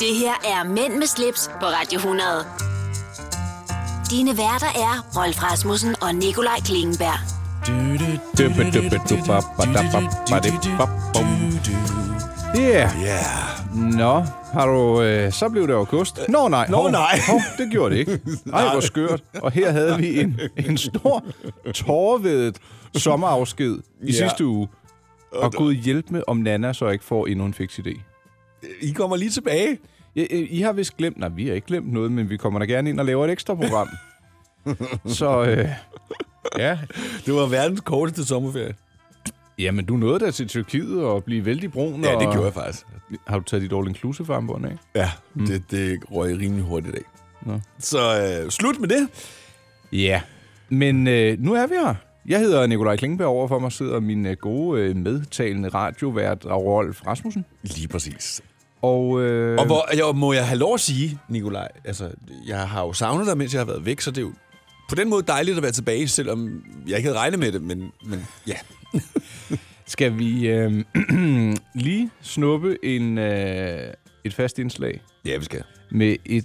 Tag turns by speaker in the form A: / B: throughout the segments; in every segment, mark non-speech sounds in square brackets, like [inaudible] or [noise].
A: Det her er Mænd med slips på Radio 100. Dine værter er Rolf Rasmussen og Nikolaj Klingenberg.
B: Yeah.
C: Ja.
B: Nå, har du... Øh, så blev det august. Nå nej.
C: Nå,
B: hov,
C: nej.
B: Hov, det gjorde det ikke.
C: [laughs]
B: Nej, hvor skørt. Og her havde vi en, en stor, tårvedet sommerafsked
C: Ja.
B: i sidste uge. Og Gud hjælp med, om Nana så ikke får endnu en fix idé.
C: I kommer lige tilbage.
B: I, I har vist glemt... Nej, vi har ikke glemt noget, men vi kommer da gerne ind og laver et ekstra
C: [laughs]
B: program. så øh, ja,
C: Det var verdens korteste sommerferie.
B: Jamen, du nåede da til Tyrkiet og blive vældig brun.
C: Ja,
B: og...
C: det gjorde jeg faktisk.
B: Har du taget dit all-inclusive armbånd af?
C: Ja, mm. det, det røg rimelig hurtigt af.
B: Nå.
C: Så øh, slut med det.
B: Ja. Men øh, nu er vi her. Jeg hedder Nikolaj Klingberg, overfor mig sidder min øh, gode øh, medtalende radiovært Rolf Rasmussen.
C: Lige præcis.
B: Og, øh,
C: Og hvor, jeg, må jeg have lov at sige, Nikolaj, altså, jeg har jo savnet dig, mens jeg har været væk, så det er jo på den måde dejligt at være tilbage, selvom jeg ikke havde regnet med det, men, men ja.
B: skal vi øh, [clears throat] lige snuppe en, øh, et fast indslag
C: Ja, vi skal.
B: med et...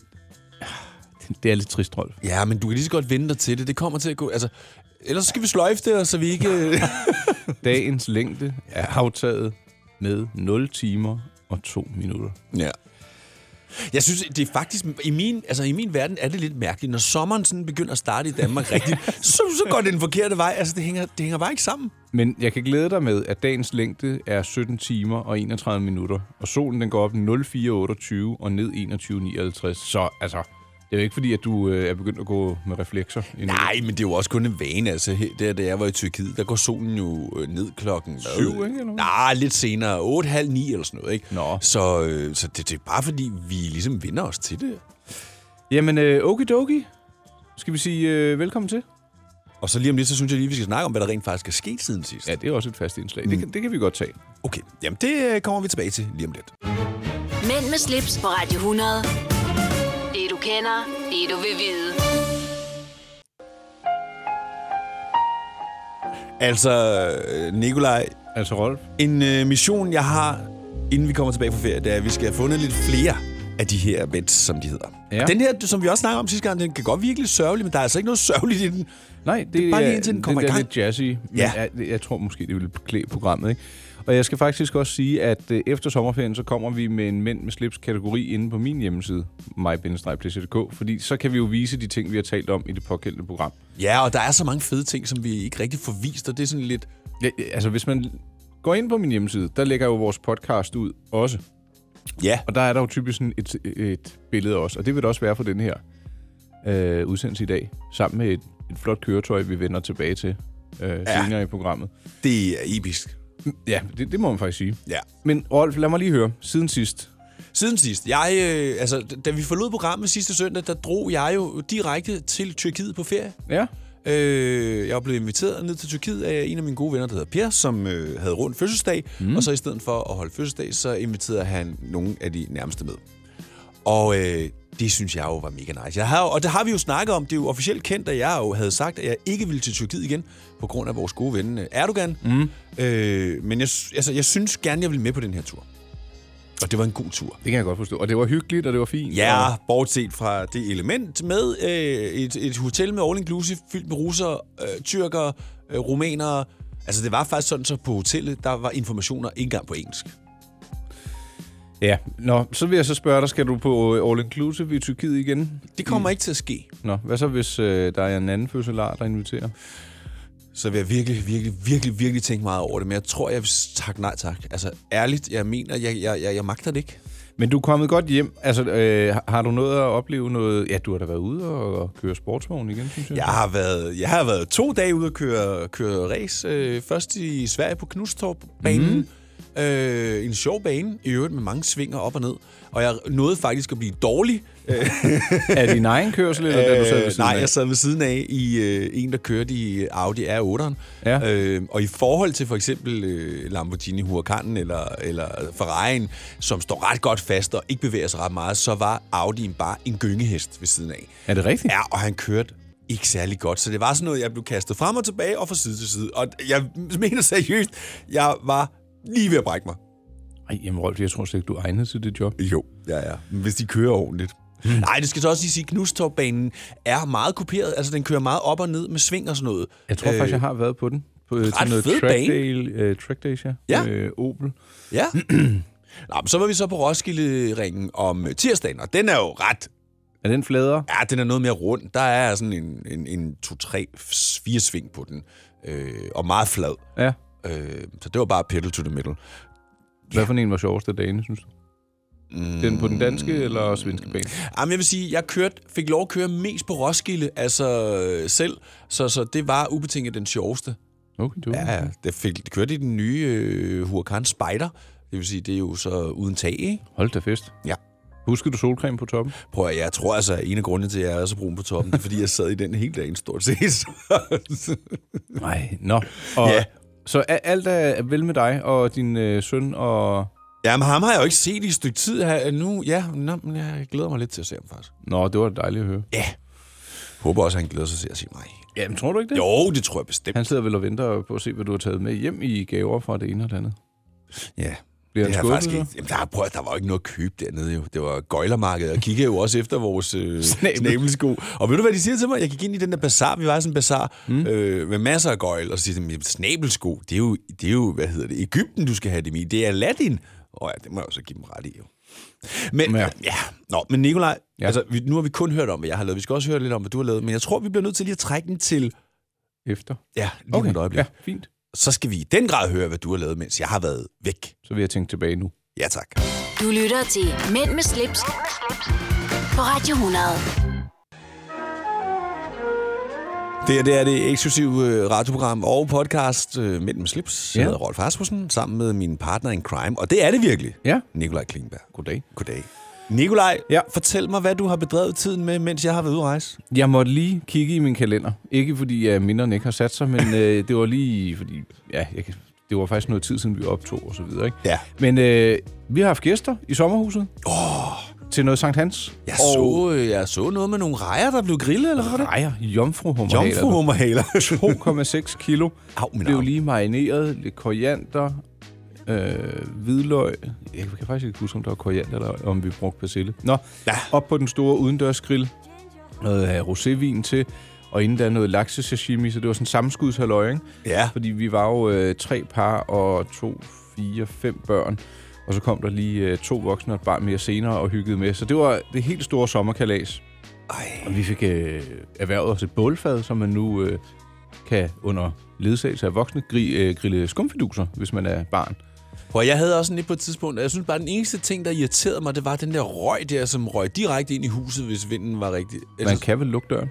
B: ah, Det er lidt trist, Rolf.
C: Ja, men du kan lige så godt vente dig til det. Det kommer til at gå... Altså, ellers skal vi sløjfe det, og så vi [laughs] ikke... øh,
B: Dagens længde er aftaget med 0 timer og 2 minutter.
C: Ja. Jeg synes, det er faktisk... I min, altså, I min verden er det lidt mærkeligt. Når sommeren sådan begynder at starte i [laughs] Danmark rigtigt, så, så går det den forkerte vej. Altså, det hænger, det hænger bare ikke sammen.
B: Men jeg kan glæde dig med, at dagens længde er 17 timer og 31 minutter, og solen den går op 04.28 og ned 21.59. Så altså, det er jo ikke fordi, at du øh, er begyndt at gå med reflekser. endnu.
C: Nej, men det er jo også kun en vane. Altså, Her- der, da jeg var i Tyrkiet, der går solen jo øh, ned klokken... hvad?
B: Syv, ikke, eller hvad?
C: Nej, lidt senere. Otte, halv ni eller sådan noget, ikke?
B: Nå.
C: Så, øh, så det, det, er bare fordi, vi ligesom vinder os til det.
B: Jamen, øh, okidoki. Skal vi sige øh, velkommen til?
C: Og så lige om lidt, så synes jeg lige, vi skal snakke om, hvad der rent faktisk er sket siden sidst.
B: Ja, det er også et fast indslag. Mm. Det, kan, det kan vi godt tage.
C: Okay, jamen det øh, kommer vi tilbage til lige om lidt.
A: Mænd med slips på Radio 100. Det du kender, det du vil vide.
C: Altså, øh, Nikolaj,
B: Altså, Rolf?
C: En øh, mission, jeg har, inden vi kommer tilbage fra ferie, det er, at vi skal have fundet lidt flere af de her events, som de hedder.
B: Ja.
C: Ja. Den her, som vi også snakkede om sidste gang, den kan godt virke lidt sørgelig, men der er altså ikke noget sørgeligt i den.
B: Nej, det,
C: er bare lige indtil den kommer i
B: det, er
C: gang.
B: lidt jazzy. Men
C: Ja.
B: jeg, jeg tror måske, det ville klæde programmet, ikke? Og jeg skal faktisk også sige, at øh, efter sommerferien, så kommer vi med en mænd med slips kategori inde på min hjemmeside, mig fordi så kan vi jo vise de ting, vi har talt om i det pågældende program.
C: Ja, og der er så mange fede ting, som vi ikke rigtig får vist, og det er sådan lidt...
B: Ja, ja, altså, hvis man går ind på min hjemmeside, der lægger jeg jo vores podcast ud også.
C: Ja,
B: Og der er der jo typisk sådan et, et billede også, og det vil det også være for den her øh, udsendelse i dag, sammen med et, et flot køretøj, vi vender tilbage til øh,
C: Ja.
B: senere i programmet.
C: det er episk.
B: Ja, det, det må man faktisk sige.
C: Ja.
B: Men Rolf, lad mig lige høre. Siden sidst.
C: Siden sidst, jeg, øh, altså, da vi forlod programmet sidste søndag, der drog jeg jo direkte til Tyrkiet på ferie.
B: Ja.
C: Øh, jeg blev inviteret ned til Tyrkiet af en af mine gode venner, der hedder Per, som øh, havde rundt fødselsdag. Mm. Og så i stedet for at holde fødselsdag, så inviterede han nogle af de nærmeste med. Og øh, det synes jeg jo var mega nice. Jeg har, jo- og det har vi jo snakket om. Det er jo officielt kendt, at jeg jo havde sagt, at jeg ikke ville til Tyrkiet igen, på grund af vores gode ven øh, Erdogan. Mm. Øh, men jeg, sy- altså, jeg synes gerne, jeg ville med på den her tur. Og det var en god tur.
B: Det kan jeg godt forstå. Og det var hyggeligt, og det var fint.
C: Ja,
B: Og,
C: bortset fra det element med øh, et, et hotel med all inclusive fyldt med russere, øh, tyrkere, øh, rumænere. Altså det var faktisk sådan, så på hotellet, der var informationer ikke engang på engelsk.
B: ja. Nå, så vil jeg så spørge dig, skal du på øh, All Inclusive i Tyrkiet igen?
C: Det kommer mm. ikke til at ske.
B: Nå, hvad så hvis øh, der er en anden fødselar, der inviterer?
C: Så vil jeg virkelig, virkelig, virkelig, virkelig tænke meget over det. Men jeg tror, jeg vil tak nej tak. Altså ærligt, jeg mener, jeg, jeg, jeg, jeg magter det ikke.
B: Men du er kommet godt hjem. Altså, øh, har- har du noget at opleve noget? Ja, du har da været ude og, og køre sportsvogn igen, synes jeg.
C: Jeg har været, jeg har været to dage ude at køre, køre race. Øh, først i Sverige på Knustorp-banen.
B: Mhm.
C: Mm. Øh, en sjov bane, i øvrigt med mange svinger op og ned. Og jeg nåede faktisk at blive dårlig.
B: Er det din egen kørsel, eller øh, der du sad ved siden
C: nej,
B: af?
C: jeg sad ved siden af i øh, en, der kørte i øh, Audi R8'eren.
B: Ja.
C: Øh, og i forhold til for eksempel øh, Lamborghini Huracanen eller, eller Ferrari'en, som står ret godt fast og ikke bevæger sig ret meget, så var Audi'en bare en gyngehest ved siden af.
B: Er det
C: [laughs]
B: rigtigt?
C: Ja, og han kørte ikke særlig godt. Så det var sådan noget, jeg blev kastet frem og tilbage og fra side til side. Og jeg mener seriøst, jeg var lige ved at brække mig.
B: Ej, jamen Rolf, jeg tror slet ikke, du er egnet til det job.
C: Jo, ja, ja. Men Hvis de kører ordentligt. Nej, det skal så også lige sige, at Knustorbanen er meget kuperet. Altså, den kører meget op og ned med sving og sådan noget.
B: Jeg tror øh, faktisk, jeg har været på den. På, øh, til noget
C: fed
B: track,
C: bane.
B: day, øh, track days, ja.
C: Ja.
B: Øh, Opel.
C: Ja. [clears throat] Nå, men så var vi så på Roskilde-ringen om øh, tirsdagen, og den er jo ret...
B: Er den fladere?
C: Ja, den er noget mere rund. Der er sådan en, en, en 2-3-4 sving på den, øh, og meget flad.
B: Ja.
C: Øh, så det var bare pedal to the middle.
B: Hvad for en var sjovest af dagen, synes du? Mm. Den på den danske eller
C: Mm.
B: svenske bane?
C: Jamen, jeg vil sige, jeg kørte, fik lov at køre mest på Roskilde, altså øh, selv, så, så det var ubetinget den sjoveste.
B: Okay, du.
C: Ja, ja. Det, fik, det kørte i den nye øh, Huracan Spider. Det vil sige, det er jo så uden tag, ikke?
B: Hold da fest.
C: Ja.
B: Husker du solcreme på toppen?
C: Prøv at, jeg tror altså, at en af grundene til, at jeg er så brun på toppen, det er, fordi jeg sad i den hele dagen stort set. [laughs] Så-
B: Nej, nå. Og,
C: Ja.
B: Så a- alt er vel med dig og din øh, søn og...
C: Jamen, ham har jeg jo ikke set i et stykke tid her nu. Ja, nå, men jeg glæder mig lidt til at se ham faktisk.
B: Nå, det var dejligt at høre.
C: Ja. Håber også, at han glæder sig til at sige mig.
B: Jamen, tror du ikke det?
C: Jo, det tror jeg bestemt.
B: Han sidder vel og venter på at se, hvad du har taget med hjem i gaver fra det ene og det andet.
C: Ja.
B: Bliver
C: Det
B: han
C: har jeg
B: skuffet,
C: faktisk ikke. Jamen, der, prøv, at- der var jo ikke noget at købe dernede jo. Det var gøjlermarkedet, og kiggede jo også efter vores øh,
B: [laughs] Snabel.
C: snabelsko. Og ved du, hvad de siger til mig? Jeg gik ind i den der bazar, vi var i sådan en bazar,
B: Hmm?
C: mm. øh, med masser af gøjl, og så siger de, "Jamen, snabelsko, det er, jo, det er jo, hvad hedder det, Ægypten, du skal have dem i. Det er Aladdin. Og ja, det må jeg jo så give dem ret i jo. Men,
B: Ja.
C: ja. ja. Nå, men Nikolaj,
B: Ja.
C: ja. altså, vi, nu har vi kun hørt om, hvad jeg har lavet. Vi skal også høre lidt om, hvad du har lavet. Men jeg tror, vi bliver nødt til lige at trække den til,
B: Efter.
C: ja, lige okay. et øjeblik.
B: ja,
C: Ja.
B: fint.
C: Så skal vi i den grad høre, hvad du har lavet, mens jeg har været væk.
B: Så vil jeg tænke tilbage nu.
C: Ja, tak.
A: Du lytter til Mænd med slips, Mænd med slips. på Radio 100.
C: Det her det er det eksklusive øh, radioprogram og podcast øh, Mænd med slips. Jeg
B: Ja.
C: hedder Rolf Rasmussen, sammen med min partner in crime. Og det er det virkelig.
B: Ja.
C: Nikolaj Klingberg.
B: Goddag.
C: Goddag. Nikolaj,
B: Ja.
C: ja. fortæl mig, hvad du har bedrevet tiden med, mens jeg har været ude at rejse.
B: Jeg måtte lige kigge i min kalender. Ikke fordi at minderne ikke har sat sig, men øh, det var lige fordi... Ja, jeg, kan- det var faktisk noget tid siden, vi optog og så videre, ikke?
C: Ja.
B: Men øh, vi har haft gæster i sommerhuset. Oh. Til noget Sankt Hans.
C: Jeg, så, øh, jeg så noget med nogle rejer, der blev grillet, eller hvad var det?
B: Rejer, jomfruhummer.
C: [laughs] Jomfruhummerhaler.
B: 2,6 kilo.
C: Au, min
B: Blev
C: arm.
B: lige marineret, lidt koriander, øh, hvidløg. Jeg kan faktisk ikke huske, om der var koriander, eller om vi brugte persille. Nå,
C: Ja.
B: op på den store udendørsgrill. Noget øh, rosévin til, og inden der noget laksesashimi, så det var sådan samskudshalløj, ikke?
C: Ja.
B: Fordi vi var jo øh, tre par og to, fire, fem børn. Og så kom der lige øh, to voksne og et barn mere senere og hyggede med. Så det var det helt store sommerkalas.
C: Ej.
B: Og vi fik øh, erhvervet os et bålfad, som man nu øh, kan under ledsagelse af voksne gri, øh, grille skumfiduser, hvis man er barn.
C: Prøv, jeg havde også sådan lidt på et tidspunkt, og jeg synes bare, den eneste ting, der irriterede mig, det var den der røg der, som røg direkte ind i huset, hvis vinden var rigtig. Altså,
B: Man kan vel lukke døren.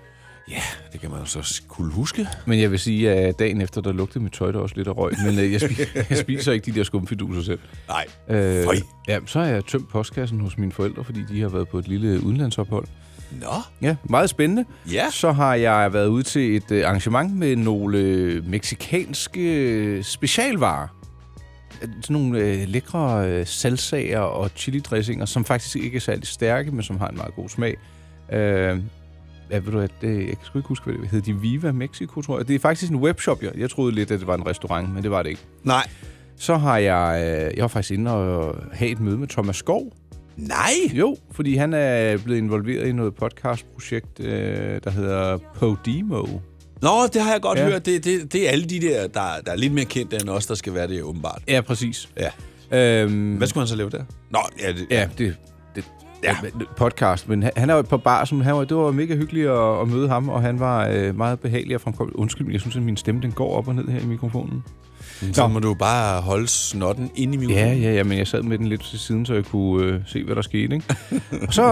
C: Ja, det kan man jo så kunne huske.
B: Men jeg vil sige, at dagen efter, der lugtede mit tøj der også lidt af røg. Men øh, jeg, spi- [laughs] jeg spiser ikke de der skumfiduser selv.
C: Nej.
B: Øh,
C: Føj.
B: ja, så har jeg tømt postkassen hos mine forældre, fordi de har været på et lille udenlandsophold.
C: Nå.
B: Ja, meget spændende.
C: Ja.
B: Så har jeg været ude til et øh, arrangement med nogle øh, meksikanske øh, specialvarer. Øh, Sådan nogle øh, lækre øh, salsaer og chili-dressinger, som faktisk ikke er særlig stærke, men som har en meget god smag. Øh, ja, ved du, at det, jeg kan sgu ikke huske, hvad det hed. De Viva Mexico, tror jeg. Det er faktisk en webshop, jeg, jeg troede lidt, at det var en restaurant, men det var det ikke.
C: Nej.
B: Så har jeg, øh, jeg var faktisk inde og have et møde med Thomas Skov,
C: Nej.
B: jo, fordi han er blevet involveret i noget podcastprojekt, øh, der hedder Podimo.
C: Nå, det har jeg godt
B: Ja.
C: ja. hørt. Det, det, det er alle de der, der, der er lidt mere kendte end os, der skal være det, åbenbart.
B: Ja, præcis.
C: Ja.
B: Øhm,
C: Hvad skulle han så lave der? Nå, ja, det,
B: ja, det, det ja.
C: Ja.
B: podcast, men han, han er jo på bar, som han var, det var mega hyggeligt at, at møde ham, og han var øh, meget behagelig og fremkommelig. Undskyld, men jeg synes, at min stemme den går op og ned her i mikrofonen.
C: så må du bare holde snotten inde i min
B: Ja, ja, ja, men jeg sad med den lidt til siden, så jeg kunne øh, se, hvad der skete. Ikke?
C: [laughs]
B: og så,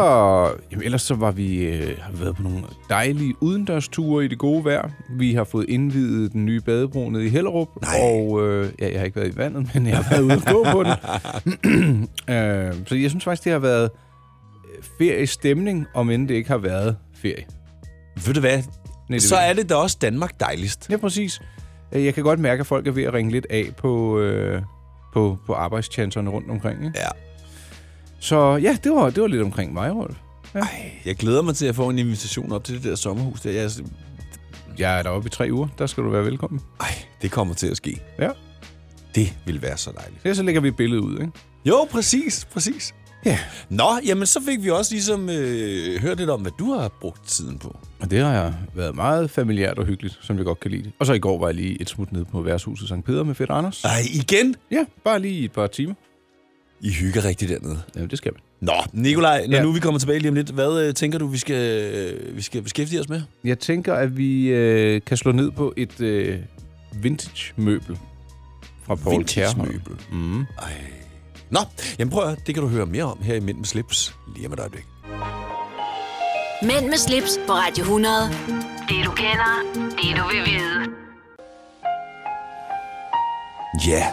B: jamen, ellers så var vi, øh, har vi været på nogle dejlige udendørsture i det gode vejr. Vi har fået indvidet den nye badebro nede i Hellerup.
C: Nej.
B: Og øh, ja, jeg har ikke været i vandet, men jeg har været ude og gå på den.
C: [laughs]
B: øh, så jeg synes faktisk, det har været øh, feriestemning, om end det ikke har været ferie.
C: Ved du hvad?
B: Nej,
C: Så
B: ved jeg
C: er det da også Danmark dejligst.
B: Ja, præcis. Øh, Jeg kan godt mærke, at folk er ved at ringe lidt af på, øh, på, på arbejdschancerne rundt omkring. Ikke?
C: Ja.
B: Så ja, det var, det var lidt omkring mig, Rolf.
C: Jeg glæder mig til at få en invitation op til det der sommerhus. Der. Jeg,
B: Jeg er deroppe i tre uger. Der skal du være velkommen.
C: ej, det kommer til at ske.
B: Ja.
C: Det vil være så dejligt.
B: Ja, så lægger vi et billede ud, ikke?
C: Jo, præcis, præcis.
B: Ja.
C: Nå, jamen så fik vi også ligesom øh, hørt lidt om, hvad du har brugt tiden på.
B: Og det har været meget familiært og hyggeligt, som jeg godt kan lide. Og så i går var jeg lige et smut ned på værtshuset St. Peter med fedt Anders.
C: Ej, igen?
B: Ja, bare lige i et par timer.
C: I hygger rigtig dernede.
B: Jamen, det skal man.
C: Nå, Nikolaj, når ja.
B: Ja.
C: nu vi kommer tilbage lige om lidt, hvad øh, tænker du, vi skal, øh, vi skal beskæftige os med?
B: Jeg tænker, at vi øh, kan slå ned på et øh, vintage-møbel fra Paul Kjærholm.
C: Vintage-møbel. Mm. Ej. Nå, jamen prøv at høre, det kan du høre mere om her i Mænd med slips lige om et øjeblik.
A: Mænd med slips på Radio 100. Det du kender, det du vil vide.
C: Ja,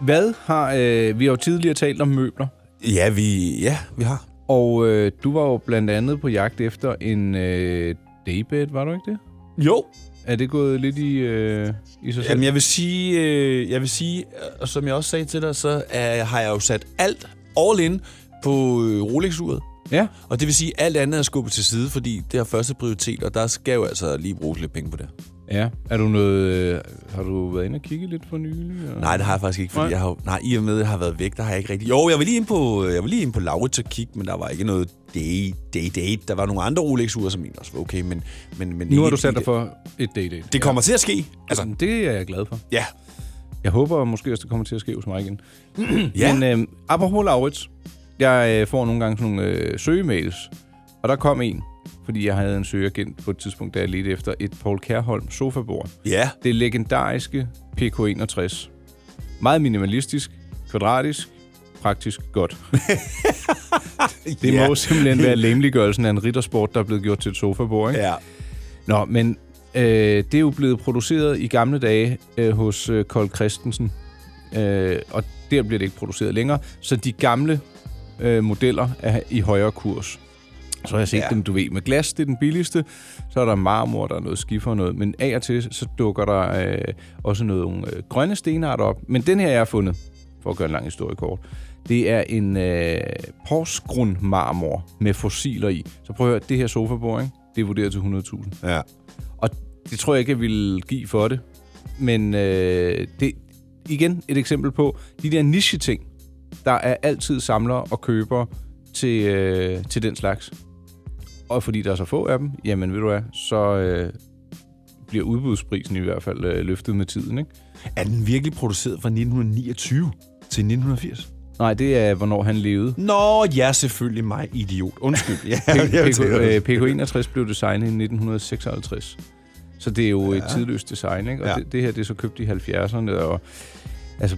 B: Hvad har... Øh, vi har jo tidligere talt om møbler,
C: ja vi, ja, vi har.
B: og øh, du var jo blandt andet på jagt efter en øh, daybed, var du ikke det?
C: Jo,
B: Er det gået lidt i, øh, i sig selv?
C: Jamen, jeg vil sige, øh, jeg vil sige, øh, og som jeg også sagde til dig, så er, har jeg jo sat alt all in på øh, Rolex-uret.
B: Ja,
C: Og det vil sige, at alt andet er skubbet til side, fordi det har første prioritet, og der skal jo altså lige bruges lidt penge på det.
B: ja. Er du noget... Øh, har du været inde og kigge lidt for nylig? Og...
C: Nej, det har jeg faktisk ikke, fordi
B: Nej.
C: jeg har, jo- nej, i og med, at jeg har været væk, der har jeg ikke rigtig... Jo, jeg var lige inde på, jeg var lige inde på Laurits og kigge, men der var ikke noget day, day, date. Der var nogle andre Rolex-uger, som egentlig også var okay, men... men, men
B: Nu har
C: ikke
B: du sat
C: lige
B: dig for et date.
C: Det kommer til at ske. Altså,
B: Altså, det er jeg glad for.
C: ja.
B: Jeg håber måske også, det kommer til at ske hos mig igen.
C: Ja.
B: Men øh, apropos Laurits, jeg øh, får nogle gange sådan nogle øh, søgemails, og der kom en, fordi jeg havde en søgeagent på et tidspunkt, da jeg ledte efter et Paul Kærholm sofabord.
C: Ja.
B: Det legendariske PK61. Meget minimalistisk, kvadratisk, praktisk godt. Det
C: ja.
B: må simpelthen
C: [laughs]
B: være lemliggørelsen af en riddersport, der er blevet gjort til et sofabord, ikke?
C: Ja.
B: Nå, men øh, det er jo blevet produceret i gamle dage øh, hos øh, Kold Christensen, øh, og der bliver det ikke produceret længere, så de gamle øh, modeller er i højere kurs. Så har jeg set
C: Ja.
B: ja. dem, du ved, med glas, det er den billigste, så er der marmor, der er noget skifer og noget, men af og til, så dukker der øh, også noget, nogle øh, grønne stenarter op, men den her, jeg har fundet, for at gøre en lang historie kort, det er en øh, Porsgrund-marmor med fossiler i. Så prøv at høre, det her sofabord, ikke? det er vurderet til 100.000.
C: ja.
B: Og det tror jeg ikke, jeg ville give for det. Men øh, det igen et eksempel på de der niche-ting, der er altid samlere og købere til, øh, til den slags. Og fordi der er så få af dem, jamen ved du hvad, så øh, bliver udbudsprisen i hvert fald øh, løftet med tiden. Ikke?
C: Er den virkelig produceret fra 1929 til 1980?
B: Nej, det er, hvornår han levede.
C: Nå, ja, selvfølgelig mig, idiot.
B: [laughs]
C: Undskyld. ja,
B: PK, øh, PK61 blev designet i 1956. Så det er jo ja. et tidløst design, ikke? Og
C: Ja.
B: ja. det, det her, det er så købt i 70'erne, og altså,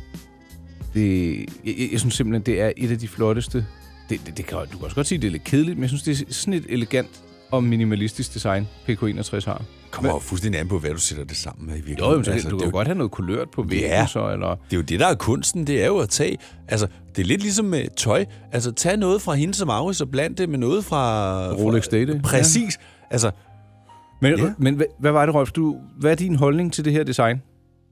B: det, jeg, jeg, jeg synes simpelthen, det er et af de flotteste. Det, det, det kan, du kan også godt sige, det er lidt kedeligt, men jeg synes, det er sådan et elegant og minimalistisk design, PK61 har.
C: kommer jo fuldstændig an på, hvad du sætter det sammen med i
B: Jo,
C: virkeligheden.
B: jo, så altså, du
C: det, er
B: kan jo
C: jo,
B: godt have noget kulørt på væggen,
C: Ja.
B: så, eller...
C: det er jo det, der er kunsten, det er jo at tage... Altså, det er lidt ligesom med tøj. Altså, tag noget fra hende som Aarhus og bland det med noget fra...
B: Rolex
C: fra,
B: Dayday.
C: Præcis. Altså,
B: Men,
C: Ja.
B: ja. men hvad, hvad var det, Rolf? Du, hvad er din holdning til det her design?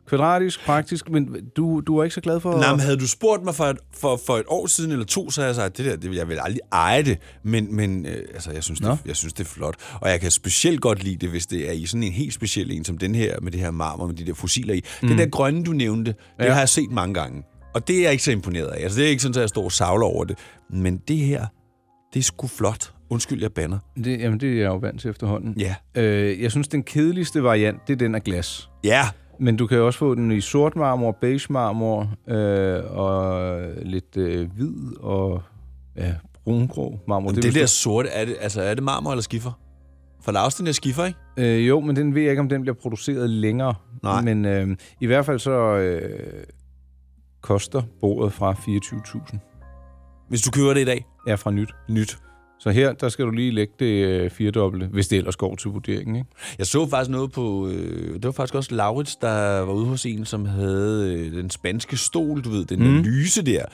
B: Kvadratisk, praktisk, men du, du er ikke så glad for...
C: nej, men havde du spurgt mig for et, for, for et år siden eller to, så havde jeg sagt, det der, det, jeg vil aldrig eje det. Men, men øh, altså, jeg, synes,
B: Nå.
C: det, jeg synes, det er flot. Og jeg kan specielt godt lide det, hvis det er i sådan en helt speciel en, som den her, med det her marmor, med de der fossiler i. Mm. Den der grønne, du nævnte, det ja.
B: Ja.
C: har jeg set mange gange. Og det er jeg ikke så imponeret af. Altså, det er ikke sådan, at jeg står og savler over det. Men det her, det er sgu flot. Undskyld, jeg banner.
B: Det, jamen, det er jeg jo vant til efterhånden.
C: Ja.
B: Øh, jeg synes, den kedeligste variant, det er den af glas.
C: Ja,
B: Men du kan jo også få den i sort marmor, beige marmor, øh, og lidt øh, hvid og ja, brungrå marmor.
C: det, det
B: vil
C: der
B: stå-
C: sorte, er det, altså, er det marmor eller skifer? For Lars, den der skifer, ikke?
B: Øh, jo, men den ved jeg ikke, om den bliver produceret længere.
C: Nej.
B: Men øh, i hvert fald så øh, koster bordet fra 24.000.
C: Hvis du køber det i dag.
B: Ja, fra nyt.
C: Nyt.
B: Så her, der skal du lige lægge det øh, firedobbelte, hvis det ellers går til vurderingen, ikke?
C: Jeg så faktisk noget på... Øh, det var faktisk også Laurits, der var ude hos en, som havde øh, den spanske stol, du ved, den mm. der lyse der.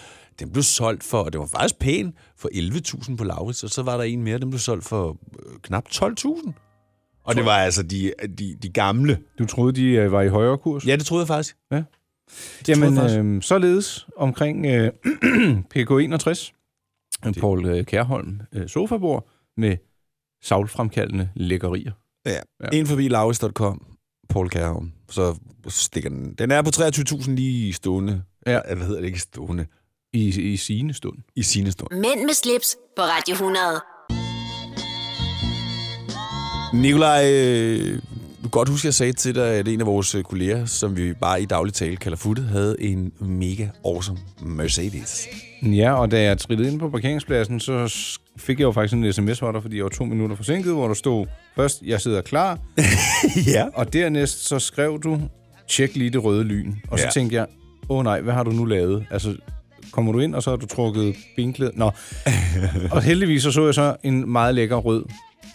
C: Den blev solgt for, og det var faktisk pæn, for 11.000 på Laurits, og så var der en mere, den blev solgt for øh, knap 12.000. Og det var altså de, de, de gamle.
B: Du troede, de øh, var i højere kurs?
C: Ja, det troede jeg faktisk.
B: Jamen,
C: tror jeg
B: øh, således omkring øh, [clears throat] PK61, det. Paul øh, Kærholm øh, sofabord med savlfremkaldende lækkerier.
C: Ja. ja. Ind forbi laurits.com, Paul Kærholm, så stikker den. Den er på 23.000 lige stående.
B: Ja.
C: Eller hvad hedder det ikke stående?
B: I, i sine stund.
C: i sine stund.
A: Mænd med slips på Radio 100.
C: Nikolaj, øh, du kan godt huske, jeg sagde til dig, at en af vores øh, kolleger, som vi bare i daglig tale kalder Futte, havde en mega awesome Mercedes.
B: Ja, og da jeg trillede ind på parkeringspladsen, så s- fik jeg jo faktisk en sms fra dig, fordi jeg var to minutter forsinket, hvor der stod, først, jeg sidder klar,
C: [laughs] ja.
B: og dernæst så skrev du, tjek lige det røde lyn. Og så
C: Ja.
B: tænkte jeg, åh oh, nej, hvad har du nu lavet? Altså, kommer du ind, og så har du trukket benklædet?
C: [laughs]
B: Nå. og heldigvis så, så jeg så en meget lækker rød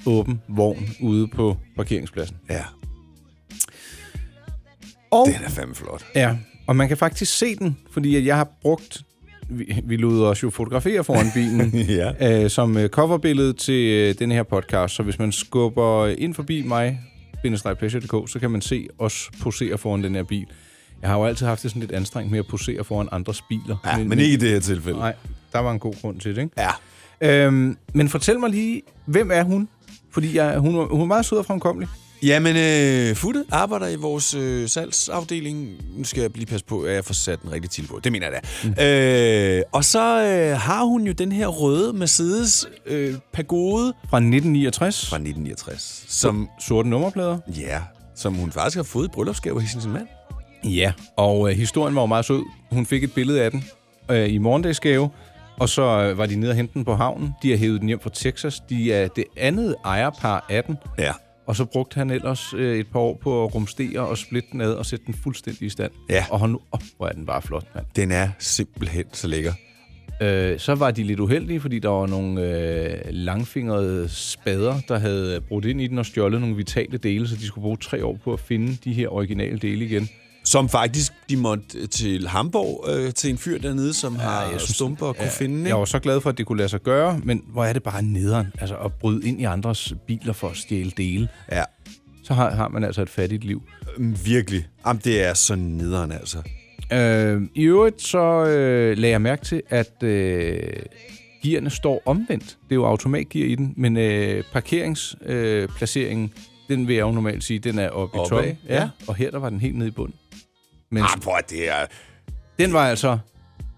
B: åben vogn ude på parkeringspladsen.
C: Ja,
B: Og
C: den er fandme flot.
B: Ja, og man kan faktisk se den, fordi at jeg har brugt... Vi, vi lod os jo fotografere foran bilen
C: [laughs] Ja.
B: øh, som øh, coverbillede til øh, den her podcast. Så hvis man skubber ind forbi mig, pleasure.dk, så kan man se os posere foran den her bil. Jeg har jo altid haft det sådan lidt anstrengt med at posere foran andres biler.
C: Ja, men, men ikke i det her tilfælde.
B: Nej, der var en god grund til det, ikke?
C: Ja.
B: Øhm, men fortæl mig lige, hvem er hun? Fordi jeg, hun, var- hun er meget sød og fremkommelig.
C: Jamen, øh, Futte arbejder i vores øh, salgsafdeling. Nu skal jeg lige passe på, at jeg får sat den rigtige til på. Det mener jeg da. Mm. Øh, og så øh, har hun jo den her røde Mercedes øh, Pagode
B: Fra 1969.
C: fra 1969, som,
B: Sorte nummerplader.
C: ja, som hun faktisk har fået i bryllupsgave af sin mand.
B: Ja, og øh, historien var jo meget sød. Hun fik et billede af den øh, i morgendagsgave, og så øh, var de nede og hente den på havnen. De har hævet den hjem fra Texas. De er det andet ejerpar af den,
C: Ja.
B: og så brugte han ellers øh, et par år på at rumstere og splitte den ad og sætte den fuldstændig i stand.
C: Ja.
B: Og hold nu op, hvor er den bare flot, mand.
C: Den er simpelthen så lækker.
B: Øh, så var de lidt uheldige, fordi der var nogle øh, langfingrede spader, der havde brudt ind i den og stjålet nogle vitale dele, så de skulle bruge tre år på at finde de her originale dele igen.
C: Som faktisk, de måtte øh, til Hamburg øh, til en fyr dernede, som ja, har
B: jeg
C: jeg
B: synes-
C: stumper og ja, kunne finde. Ikke?
B: Jeg var så glad for, at det kunne lade sig gøre, men hvor er det bare nederen, altså at bryde ind i andres biler for at stjæle dele.
C: Ja,
B: Så har, har man altså et fattigt liv.
C: mm, virkelig. Jamen, det er så nederen, altså.
B: Øh, I øvrigt så øh, lagde jeg mærke til, at øh, gearne står omvendt. Det er jo automatgear i den, men øh, parkeringsplaceringen, øh, placeringen, den vil jeg jo normalt sige, den er oppe i
C: Oppe
B: toppen.
C: af, ja.
B: Og her der var den helt nede i bunden. Men
C: Ah, prøv at- det er...
B: den var altså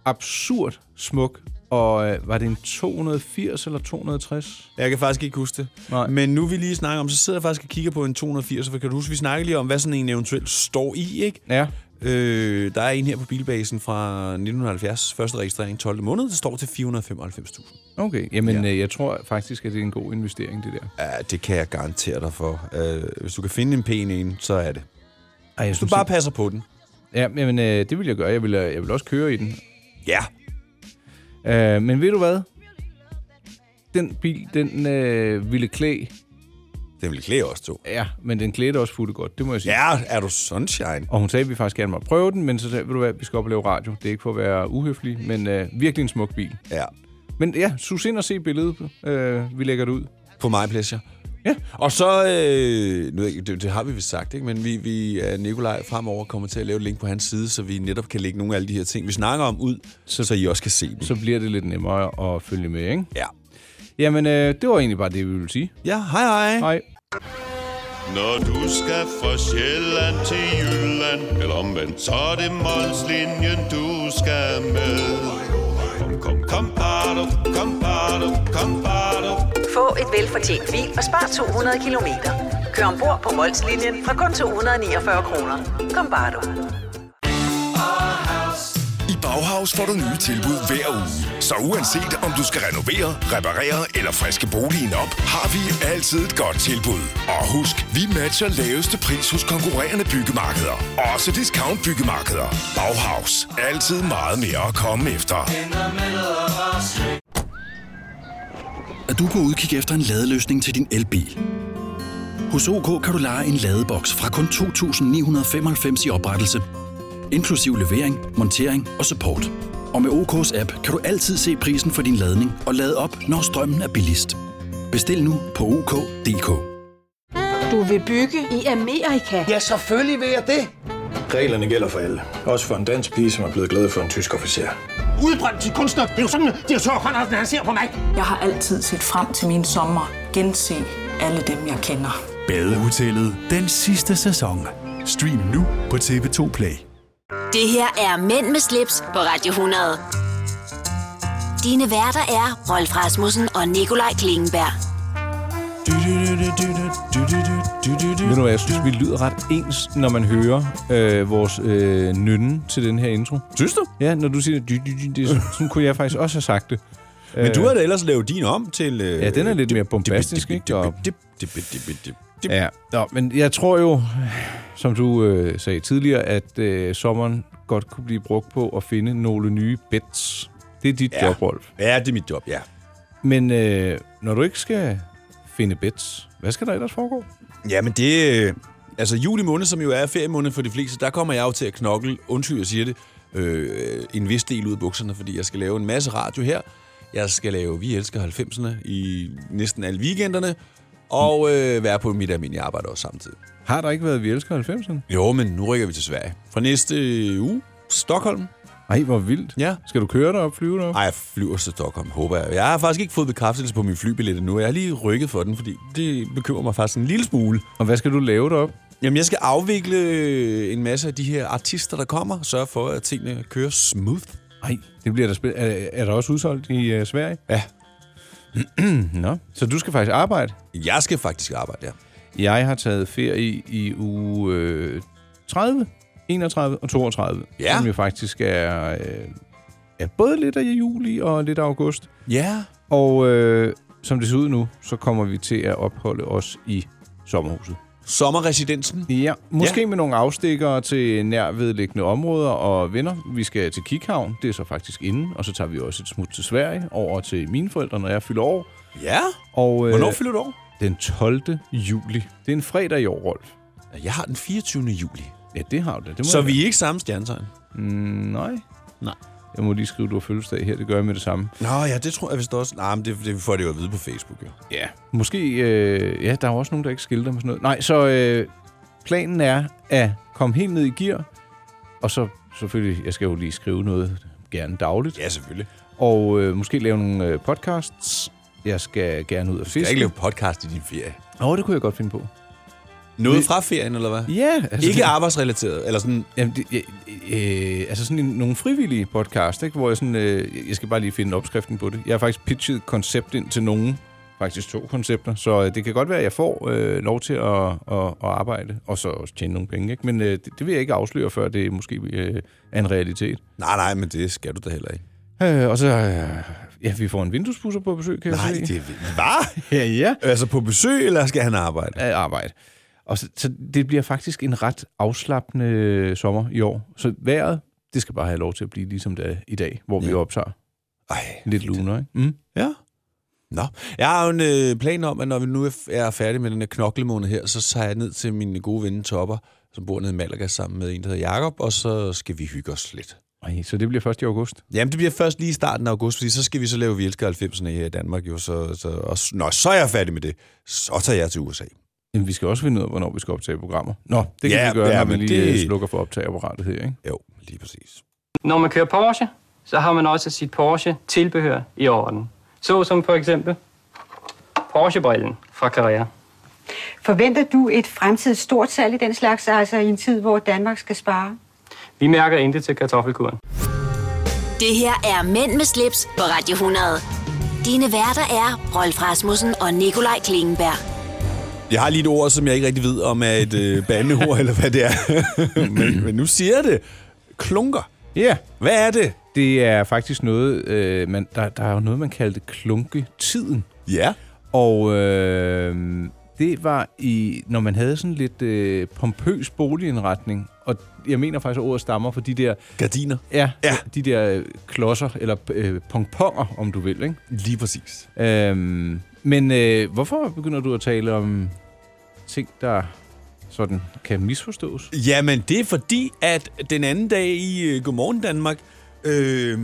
B: absurd smuk, og øh, var det en 280 eller 260?
C: Jeg kan faktisk ikke huske det.
B: Nej.
C: Men nu vi lige snakker om, så sidder jeg faktisk og kigger på en 280, for kan du huske, vi snakker lige om, hvad sådan en eventuelt står i, ikke?
B: Ja.
C: Øh, der er en her på bilbasen fra 1970, første registrering 12. måned, det står til 495.000.
B: Okay, jamen ja. øh, jeg tror faktisk, at det er en god investering, det der.
C: Ja, det kan jeg garantere dig for. Øh, hvis du kan finde en pæn en, så er det.
B: Ej, jeg
C: Du bare passer på den.
B: Ja, men øh, det vil jeg gøre. Jeg vil, øh, jeg vil også køre i den.
C: Ja,
B: Øh, men ved du hvad? Den bil, den øh, ville klæde...
C: den vil klæde os to.
B: Ja, men den klædte også fuldt godt, det må jeg sige.
C: Ja, er du sunshine?
B: Og hun sagde, at vi faktisk gerne måtte prøve den, men så sagde jeg, ved du hvad, vi skal op og lave radio. Det er ikke for at være uhøflig, men øh, virkelig en smuk bil.
C: Ja.
B: Men ja, sus ind og se billedet. Øh, vi lægger det ud.
C: På mig pleasure.
B: Ja.
C: Og så, øh, nu, ved jeg ikke, det, det har vi vist sagt, ikke? men vi, vi er Nikolaj fremover kommer til at lave et link på hans side, så vi netop kan lægge nogle af alle de her ting, vi snakker om ud, så, så I også kan se dem.
B: Så bliver det lidt nemmere at følge med, ikke?
C: Ja.
B: Jamen, øh, det var egentlig bare det, vi ville sige.
C: Ja, hej hej.
B: Hej.
D: Når du skal fra Sjælland til Jylland Eller omvendt Så er det Molslinjen du skal med Kom, kom, kom, bado, kom, bado, kom, bado.
E: Få et velfortjent bil og spar 200 kilometer. Kør ombord på Molslinjen fra kun 249 kroner. Kom bare du.
F: I Bauhaus får du nye tilbud hver uge. Så uanset om du skal renovere, reparere eller friske boligen op, har vi altid et godt tilbud. Og husk, vi matcher laveste pris hos konkurrerende byggemarkeder. Også discount byggemarkeder. Bauhaus. Altid meget mere at komme efter.
G: at du er på udkig efter en ladeløsning til din elbil. Hos OK kan du lege en ladeboks fra kun 2.995 i oprettelse, inklusiv levering, montering og support. Og med OK's app kan du altid se prisen for din ladning og lade op, når strømmen er billigst. Bestil nu på OK.dk.
H: Du vil bygge i Amerika?
I: Ja, selvfølgelig vil jeg det.
J: Reglerne gælder for alle. Også for en dansk pige, som er blevet glad for en tysk officer.
I: Udbrændt til kunstner. Det er jo sådan, at de har Conradsen, han ser på mig.
H: Jeg har altid set frem til min sommer. Gense alle dem, jeg kender.
K: Badehotellet den sidste sæson. Stream nu på TV2 Play.
A: Det her er Mænd med slips på Radio 100. Dine værter er Rolf Rasmussen og Nikolaj Klingenberg.
B: Ved du hvad, jeg synes, vi lyder ret ens, når man hører øh, vores øh, nynne til den her intro.
C: Synes du?
B: Ja, når du siger det, dy, dy, dy, det er sådan, sådan kunne jeg faktisk også have sagt det.
C: Men du har da ellers lavet din om til... Øh,
B: Øh. Ja, den er lidt mere bombastisk, ikke? Og- Ja, Nå, men jeg tror jo, som du øh, sagde tidligere, at øh, sommeren godt kunne blive brugt på at finde nogle nye bets. Det er dit
C: Ja.
B: job, Rolf.
C: Ja, det er mit job, ja.
B: Men øh, når du ikke skal finde bets, hvad skal der ellers foregå?
C: Ja, men det... øh, Altså, juli måned, som jo er feriemåned for de fleste, der kommer jeg jo til at knokle, undskyld, jeg siger det, øh, en vis del ud af bukserne, fordi jeg skal lave en masse radio her. Jeg skal lave Vi Elsker 90'erne i næsten alle weekenderne, og øh, være på mit almindelige arbejde også samtidig.
B: Har der ikke været Vi Elsker 90'erne?
C: Jo, men nu rykker vi til Sverige. Fra næste øh, uge, Stockholm.
B: Ej, hvor vildt.
C: Ja.
B: Skal du køre derop, flyve derop?
C: Nej, jeg flyver til Stockholm, håber jeg. Jeg har faktisk ikke fået bekræftelse på min flybillet endnu. Jeg har lige rykket for den, fordi det bekymrer mig faktisk en lille smule.
B: Og hvad skal du lave derop?
C: Jamen, jeg skal afvikle en masse af de her artister, der kommer. Sørge for, at tingene kører smooth.
B: Nej, det bliver der spil- er, er der også udsolgt i øh, Sverige?
C: Ja.
B: [clears throat] Nå, så du skal faktisk arbejde?
C: Jeg skal faktisk arbejde, ja.
B: Jeg har taget ferie i, i uge øh, 30, 31 og 32.
C: Ja.
B: Som jo faktisk er, øh, er både lidt af juli og lidt af august.
C: Ja.
B: Og øh, som det ser ud nu, så kommer vi til at opholde os i sommerhuset.
C: Sommerresidensen.
B: Ja, måske ja. med nogle afstikker til nærvedliggende områder og venner. Vi skal til Kikhavn, det er så faktisk inden, og så tager vi også et smut til Sverige over til mine forældre, når jeg fylder år.
C: Ja.
B: Og, øh,
C: Hvornår fylder du år?
B: Den 12. juli. Det er en fredag i år, Rolf.
C: Jeg har den 24. juli.
B: Ja, det har du da. Det må
C: Så
B: jeg-
C: vi er ikke samme stjernetegn?
B: Mm, nej.
C: Nej.
B: Jeg må lige skrive, du har fødselsdag her. Det gør jeg med det samme.
C: Nå ja, det tror jeg vist også. Nej, men det, det får det jo at vide på Facebook, jo.
B: Ja. Måske, øh, ja, der er jo også nogen, der ikke skilter med sådan noget. Nej, så øh, planen er at komme helt ned i gear, og så selvfølgelig, jeg skal jo lige skrive noget, gerne dagligt,
C: Ja, selvfølgelig.
B: og øh, måske lave nogle øh, podcasts. Jeg skal gerne ud og
C: Du skal
B: fiske.
C: ikke lave podcast i din ferie.
B: Åh, det kunne jeg godt finde på.
C: Noget fra ferien, eller hvad?
B: Ja, altså,
C: Ikke
B: det-
C: arbejdsrelateret, eller sådan...
B: Jamen, det, jeg, øh, altså sådan en, nogle frivillige podcast, ikke? hvor jeg sådan, øh, jeg skal bare lige finde opskriften på det. Jeg har faktisk pitchet et koncept ind til nogen, faktisk to koncepter, så øh, det kan godt være, at jeg får øh, lov til at, at, at arbejde, og så også tjene nogle penge, ikke? men øh, det, det vil jeg ikke afsløre, før det måske øh, er en realitet.
C: Nej, nej, men det skal du da heller ikke.
B: Øh, og så, øh, ja, vi får en vinduespusser på besøg, kan
C: Nej,
B: jeg se.
C: det var.
B: Ja, ja.
C: Altså på besøg, eller skal han arbejde?
B: af arbejde. Og så, så det bliver faktisk en ret afslappende øh, sommer i år. Så vejret, det skal bare have lov til at blive ligesom det er i dag, hvor ja. vi
C: Ja.
B: optager
C: Ej,
B: lidt luner, ikke? Mm.
C: Ja. Nå, jeg har jo en øh, plan om, at når vi nu er- er færdige med den her knoklemåned her, så tager jeg ned til min gode ven Topper, som bor nede i Malaga sammen med en, der hedder Jakob, og så skal vi hygge os lidt.
B: Ej, så det bliver først i august.
C: Jamen, det bliver først lige i starten af august, fordi så skal vi så lave Vi elsker 90'erne her i Danmark, jo, så, så, og, s- nå, så er jeg færdig med det. Så tager jeg til USA.
B: Jamen, vi skal også finde ud af, hvornår vi skal optage programmer. Nå, det kan
C: Ja,
B: vi gøre,
C: ja,
B: ja, når vi
C: men
B: lige
C: det-
B: det... slukker for optageapparatet her, ikke?
C: Jo, lige præcis.
L: Når man kører Porsche, så har man også sit Porsche-tilbehør i orden. Så som Mm. for eksempel Porsche-brillen fra Carrera.
M: Forventer du et fremtidigt stort salg i den slags, altså i en tid, hvor Danmark skal spare?
L: Vi mærker intet til kartoffelkuren.
A: Det her er Mænd med slips på Radio 100. Dine værter er Rolf Rasmussen og Nikolaj Klingenberg.
C: Jeg har lige et ord, som jeg ikke rigtig ved, om er et øh, [laughs] bandeord, eller hvad det er. [laughs] men, men nu siger jeg det. Klunker.
B: Ja. Yeah.
C: Hvad er det?
B: Det er faktisk noget, øh, man, der, der er jo noget, man kaldte klunketiden.
C: Ja.
B: Og øh, det var i, når man havde sådan lidt øh, pompøs boligindretning, og jeg mener faktisk, at ordet stammer fra de der...
C: Gardiner.
B: Ja, ja. de der øh, klodser, eller øh, pongponger, om du vil, ikke?
C: Lige præcis.
B: Øhm, men øh, hvorfor begynder du at tale om ting, der sådan kan misforstås?
C: Jamen, det er fordi, at den anden dag i øh, Godmorgen Danmark, øh,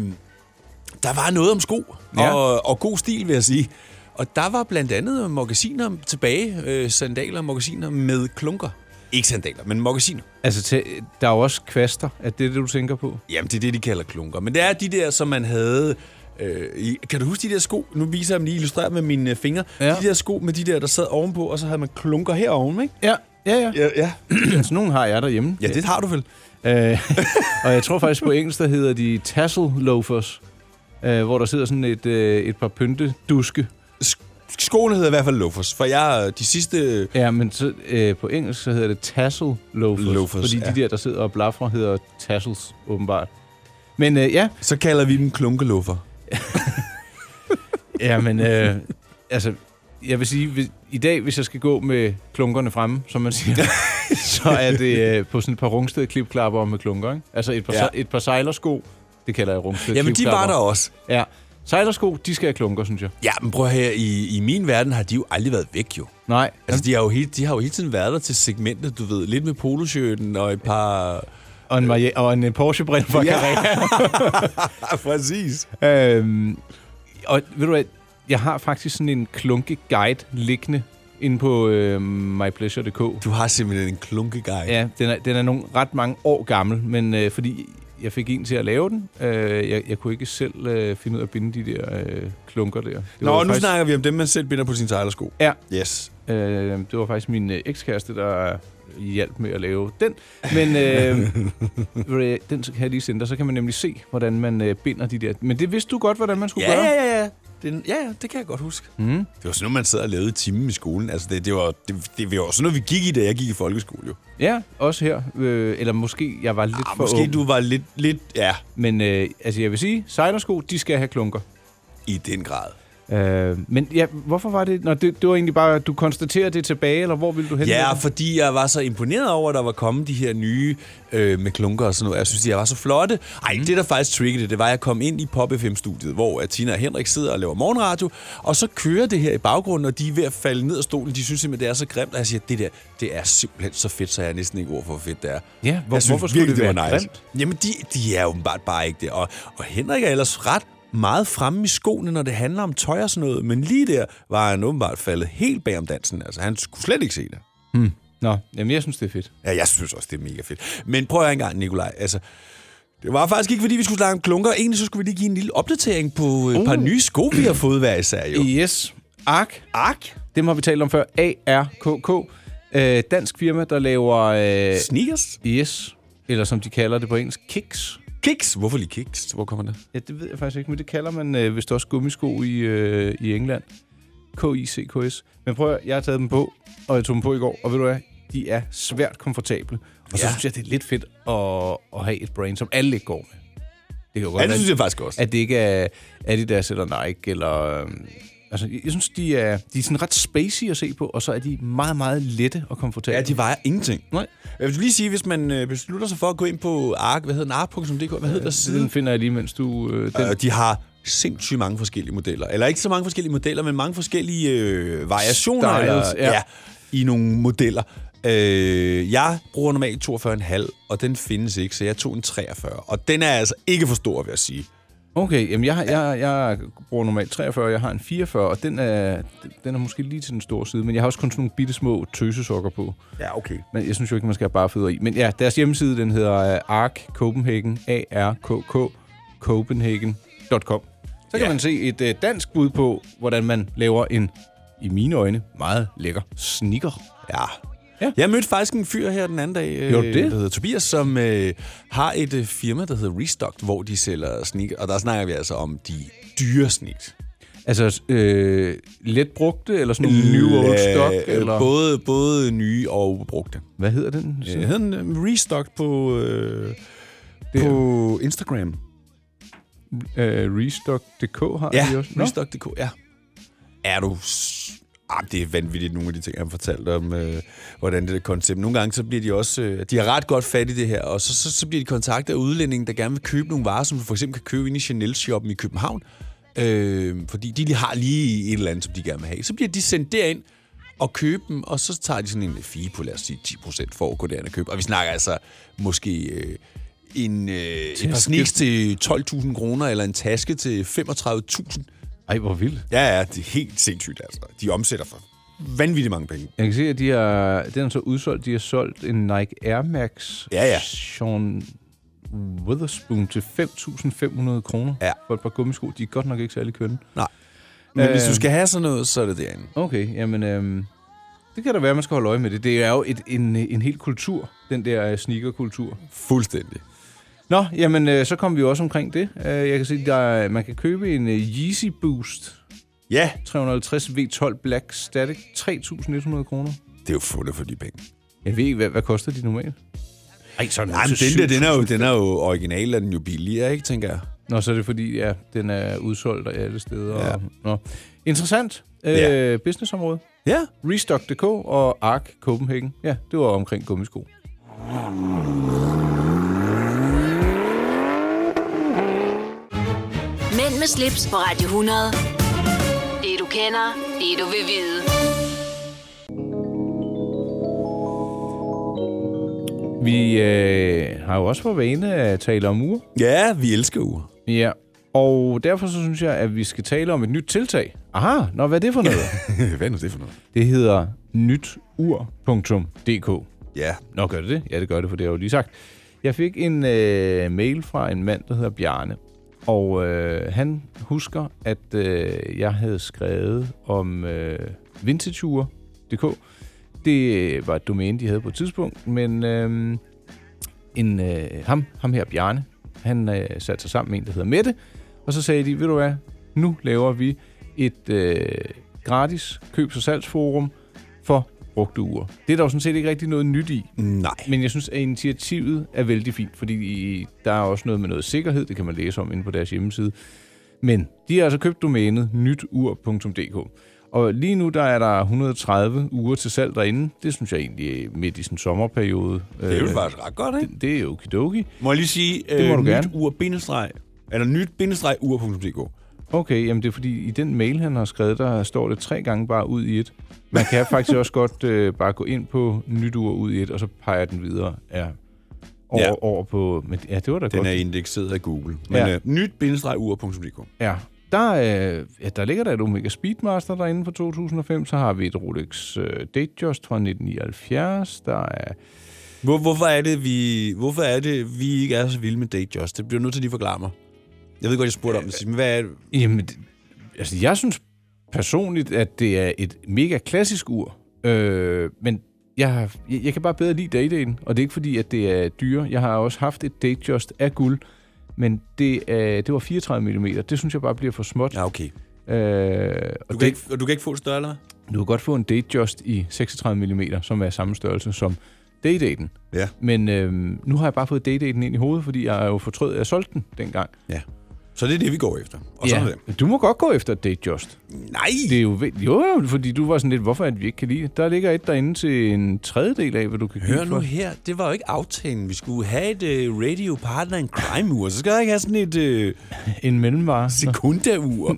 C: der var noget om sko.
B: Ja.
C: Og, og god stil, vil jeg sige. Og der var blandt andet magasiner tilbage, øh, sandaler og magasiner med klunker. Ikke sandaler, men magasiner.
B: Altså, tæ- der er jo også kvaster. Er det det, du tænker på?
C: Jamen, det er det, de kalder klunker. Men det er de der, som man havde... Øh, i, kan du huske de der sko? Nu viser jeg dem lige illustreret med mine øh, fingre. Ja. De der sko med de der, der sad ovenpå, og så havde man klunker herovre, ikke?
B: Ja, ja, ja.
C: Ja, ja.
B: altså, nogen har jeg derhjemme.
C: ja det har du vel.
B: [laughs] Øh, og jeg tror faktisk på engelsk, der hedder de tassel loafers. Øh, øh, hvor der sidder sådan et, øh, et par pynteduske.
C: Skoene hedder i hvert fald loafers, for jeg de sidste...
B: Ja, men så, øh, på engelsk så hedder det tassel loafers,
C: Loafers,
B: fordi
C: ja.
B: de der, der sidder og blaffer, hedder tassels, åbenbart. Men øh, ja.
C: Så kalder vi dem klunkeluffer.
B: ja, men øh, altså, jeg vil sige, hvis, i dag, hvis jeg skal gå med klunkerne fremme, som man [laughs] siger, så er det øh, på sådan et par rungsted klipklapper med klunker, ikke? Altså et par,
C: Ja.
B: ja. et par sejlersko, det kalder jeg rungsted
C: Jamen, de var der også.
B: Ja, sejlersko, de skal have klunker, synes jeg.
C: Ja, men prøv her i, i min verden har de jo aldrig været væk, jo.
B: Nej.
C: Altså, de har jo hele, de har jo hele tiden været der til segmentet, du ved. Lidt med poloshirten og et par...
B: Og en, Marie- og en øh, Porsche-brille fra
C: [laughs] Ja, præcis.
B: Øhm, og ved du hvad, jeg har faktisk sådan en klunke-guide liggende inde på øh, mypleasure.dk.
C: Du har simpelthen en klunke-guide.
B: Ja, den er, den er nogle ret mange år gammel, men øh, fordi jeg fik en til at lave den, øh, jeg, jeg kunne ikke selv øh, finde ud af at binde de der øh, klunker der. Det
C: Nå,
B: var
C: nu
B: faktisk-
C: snakker vi om dem, man selv binder på sine sejlersko.
B: Ja.
C: Yes.
B: Øh, det var faktisk min øh, ekskæreste, der hjalp med at lave den. Men øh,
C: [laughs]
B: ved du hvad, den kan jeg lige sende dig, så kan man nemlig se, hvordan man øh, binder de der. Men det vidste du godt, hvordan man skulle
C: Ja,
B: gøre.
C: ja, ja, ja. Den, ja, ja, det kan jeg godt huske.
B: Mm.
C: Det var sådan noget, man sad og lavede i timen i skolen. Altså, det, det, var, det, det var sådan noget, vi gik i, da jeg gik i folkeskole, jo.
B: Ja, også her. Øh, eller måske jeg var lidt for
C: Ah, måske
B: ung.
C: du var lidt, lidt ja.
B: Men øh, altså, jeg vil sige, sejlersko, de skal have klunker.
C: I den grad.
B: Øh, men ja, hvorfor var det? Nå, det, det var egentlig bare, at du konstaterer det tilbage, eller hvor ville du hen?
C: Ja,
B: med det?
C: fordi jeg var så imponeret over, at der var kommet de her nye øh, med klunker og sådan noget. Jeg synes, de var så flotte. Ej, mm. det der faktisk triggede, det var, at jeg kom ind i Pop FM-studiet, hvor at Tina og Henrik sidder og laver morgenradio, og så kører det her i baggrunden, og de er ved at falde ned af stolen. De synes simpelthen, det er så grimt, og jeg siger, det der, det er simpelthen så fedt, så jeg har næsten ikke ord for, hvor fedt det er.
B: Ja, hvor-
C: jeg
B: hvorfor skulle det
C: var
B: være
C: Jamen, de, de er åbenbart bare ikke det. Og, og Henrik er ellers ret meget fremme i skoene, når det handler om tøj og sådan noget, men lige der var han åbenbart faldet helt bag om dansen. Altså, han skulle slet ikke se det.
B: Hmm. Nå, jamen jeg synes, det er fedt.
C: Ja, jeg synes også, det er mega fedt. Men prøv at høre engang, Nikolaj. Altså, det var faktisk ikke, fordi vi skulle snakke om klunker. Egentlig så skulle vi lige give en lille opdatering på øh, et par nye sko, vi har fået hver især. Jo. Øh,
B: Yes. Ark.
C: Ark.
B: Dem har vi talt om før. ARKK. Øh, dansk firma, der laver... Øh,
C: Sneakers?
B: Yes. Eller som de kalder det på engelsk, kicks.
C: Kicks? Hvorfor lige kicks? Hvor kommer det?
B: Ja, det ved jeg faktisk ikke, men det kalder man øh, vist også gummisko i, øh, i England. K-I-C-K-S. Men prøv at, høre, jeg har taget dem på, og jeg tog dem på i går, og ved du hvad, de er svært komfortable. Og så
C: Ja.
B: synes jeg, det er lidt fedt at, at have et brand, som alle ikke går med. Det kan jo godt
C: Ja, det
B: være,
C: synes jeg faktisk også.
B: At det ikke er Adidas eller Nike, eller... øhm, Altså, jeg jeg synes, de er, de er sådan ret spacey at se på, og så er de meget, meget lette og komfortable.
C: Ja, de vejer ingenting.
B: Nej.
C: Jeg vil lige sige, hvis man øh, beslutter sig for at gå ind på ark, hvad hedder den, ark.dk, hvad hedder der
B: Den
C: siden?
B: finder jeg lige, mens du... Øh, den.
C: Øh, de har sindssygt mange forskellige modeller. Eller ikke så mange forskellige modeller, men mange forskellige øh, variationer.
B: Styles,
C: eller,
B: ja.
C: I nogle modeller. Øh, jeg bruger normalt 42,5, og den findes ikke, så jeg tog en 43. Og den er altså ikke for stor, vil jeg sige.
B: Okay, jamen jeg, har- jeg, jeg bruger normalt 43, jeg har en 44, og den er, den er måske lige til den store side, men jeg har også kun sådan nogle bitte små tøsesokker på.
C: Ja, okay.
B: Men jeg synes jo ikke, man skal have bare fødder i. Men ja, deres hjemmeside, den hedder øh, ARK Copenhagen, A-R-K-K, Copenhagen.com. Så kan
C: Ja.
B: man se et øh, dansk bud på, hvordan man laver en, i mine øjne, meget lækker sneaker.
C: Ja.
B: ja.
C: Jeg mødte faktisk en fyr her den anden dag, øh,
B: Gjorde du det?
C: der hedder Tobias, som øh, har et øh, firma, der hedder Restocked, hvor de sælger sneakers. Og der snakker vi altså om de dyre sneakers.
B: Altså øh, let brugte, eller sådan nogle new old stock?
C: Øh,
B: eller?
C: Både, både nye og brugte.
B: Hvad hedder den?
C: Øh, hedder den øh, Restocked på, øh,
B: Det-
C: på Instagram?
B: Øh, Restock.dk har
C: Ja,
B: de også. Nå.
C: Restock.dk, ja. Er du... s- Ah, det er vanvittigt, nogle af de ting, han fortalte om, øh, hvordan det der koncept. Nogle gange, så bliver de også... Øh, de har ret godt fat i det her, og så, så, så bliver de kontaktet af udlændinge, der gerne vil købe nogle varer, som du for eksempel kan købe inde i Chanel-shoppen i København, øh, fordi de lige har lige et eller andet, som de gerne vil have. Så bliver de sendt derind og købe dem, og så tager de sådan en fee på, lad os sige, 10% for at gå derind og købe. Og vi snakker altså måske... Øh, en, øh, et par
B: Taske.
C: sneaks til 12.000 kroner, eller en taske til 35.000.
B: Ej, hvor vildt.
C: Ja, ja, det er helt sindssygt, altså. De omsætter for vanvittigt mange penge.
B: Jeg kan se, at de har, den er så udsolgt. De har solgt en Nike Air Max
C: Ja, ja.
B: Sean Witherspoon til 5.500 kroner
C: Ja.
B: for et par gummisko. De er godt nok ikke særlig kønne.
C: Nej. Men øh, hvis
B: Øh.
C: du skal have sådan noget, så er det derinde.
B: Okay, jamen... Øhm, det kan da være, at man skal holde øje med det. Det er jo et, en, en hel kultur, den der øh, sneakerkultur.
C: Fuldstændig.
B: Nå, jamen, øh, så kom vi jo også omkring det. Øh, jeg kan se, der er, man kan købe en øh, Yeezy Boost.
C: Ja.
B: 350 V12 Black Static. 3.100 kroner.
C: Det er jo fundet for de penge.
B: Jeg ved ikke, hvad, hvad koster de normalt? Ej, sådan
C: Nej, men den der, den er jo, den er jo original, og den er jo billigere, ikke, tænker jeg.
B: Nå, så er det fordi, ja, den er udsolgt af alle steder.
C: Ja.
B: Ja. Og, nå. Interessant øh,
C: Ja.
B: businessområde.
C: Ja.
B: Restock.dk og Ark Copenhagen. Ja, det var omkring gummisko.
A: Mænd med slips på Radio 100. Det du kender, det du vil vide.
B: Vi øh, har jo også for vane at tale om uger.
C: Ja, vi elsker uger.
B: Ja, og derfor så synes jeg, at vi skal tale om et nyt tiltag. Aha, nå, hvad er det for
C: [laughs]
B: noget?
C: [laughs] hvad er nu det for noget?
B: Det hedder nytur.dk.
C: Ja.
B: Nå, gør det det? Ja, det gør det, for det har jeg jo lige sagt. Jeg fik en øh, mail fra en mand, der hedder Bjarne, og øh, han husker, at øh, jeg havde skrevet om øh, vintageure.dk. Det var et domæne, de havde på et tidspunkt, men øh, en, øh, ham, ham her, Bjarne, han øh, satte sig sammen med en, der hedder Mette, og så sagde de, ved du hvad, nu laver vi et øh, gratis købs- og salgsforum for brugte uger. Det er der jo sådan set ikke rigtig noget nyt i.
C: Nej.
B: Men jeg synes, at initiativet er vældig fint, fordi I- der er også noget med noget sikkerhed, det kan man læse om inde på deres hjemmeside. Men de har altså købt domænet nytur.dk. Og lige nu der er der 130 uger til salg derinde. Det synes jeg egentlig er midt i sådan en sommerperiode.
C: Det er jo faktisk ret godt, ikke?
B: Det, det er jo okidoki.
C: Øh, Må jeg lige sige,
B: det må
C: øh,
B: du
C: nyt
B: gerne.
C: ur bindestreg, eller nyt bindestreg ur.dk.
B: Okay, jamen det er fordi, i den mail, han har skrevet, der står det tre gange bare ud i et. Man kan
C: [laughs]
B: faktisk også godt øh, bare gå ind på nyt ur ud i et, og så peger den videre ja, over,
C: Ja.
B: ja. over på... Men, ja, det var da
C: Den
B: godt.
C: er indekseret af Google. Men
B: Ja.
C: ja. øh, nyt bindestreg ur.dk.
B: Ja. Der, øh, ja, der ligger der et Omega Speedmaster derinde fra 2005. Så har vi et Rolex øh, Datejust fra 1979. Der er...
C: Hvor, hvorfor, er det, vi, hvorfor er det, vi ikke er så vilde med Datejust? Det bliver nødt til, at de forklarer mig. Jeg ved godt, jeg spurgte om det sidst, men hvad er det?
B: Jamen, det- altså, jeg synes personligt, at det er et mega klassisk ur. Øh, men jeg, har- jeg, jeg kan bare bedre lide Daydaten, og det er ikke fordi, at det er dyre. Jeg har også haft et Datejust af guld, men det, øh, det var 34 mm. Det synes jeg bare bliver for småt.
C: Ja, okay.
B: Øh, og
C: Du
B: det-
C: kan, ikke, og du kan ikke få det større, eller hvad?
B: Du kan godt få en Datejust i 36 mm, som er samme størrelse som Daydaten.
C: Ja.
B: Men øhm, nu har jeg bare fået Daydaten ind i hovedet, fordi jeg er jo fortrød, at jeg solgte den dengang.
C: Ja. Så det er det, vi går efter. Og sådan er det.
B: Du må godt gå efter et Datejust.
C: Nej!
B: Det er jo, ved- jo, jo, fordi du var sådan lidt, hvorfor at vi ikke kan lide det? Der ligger et derinde til en tredjedel af, hvad du kan
C: Hør
B: købe
C: nu
B: for.
C: her, det var jo ikke aftalen. Vi skulle have et uh, radio partner en crime ur, så skal jeg ikke have sådan et... Uh,
B: en mellemvare.
C: Sekunda-ur. [laughs] Åh,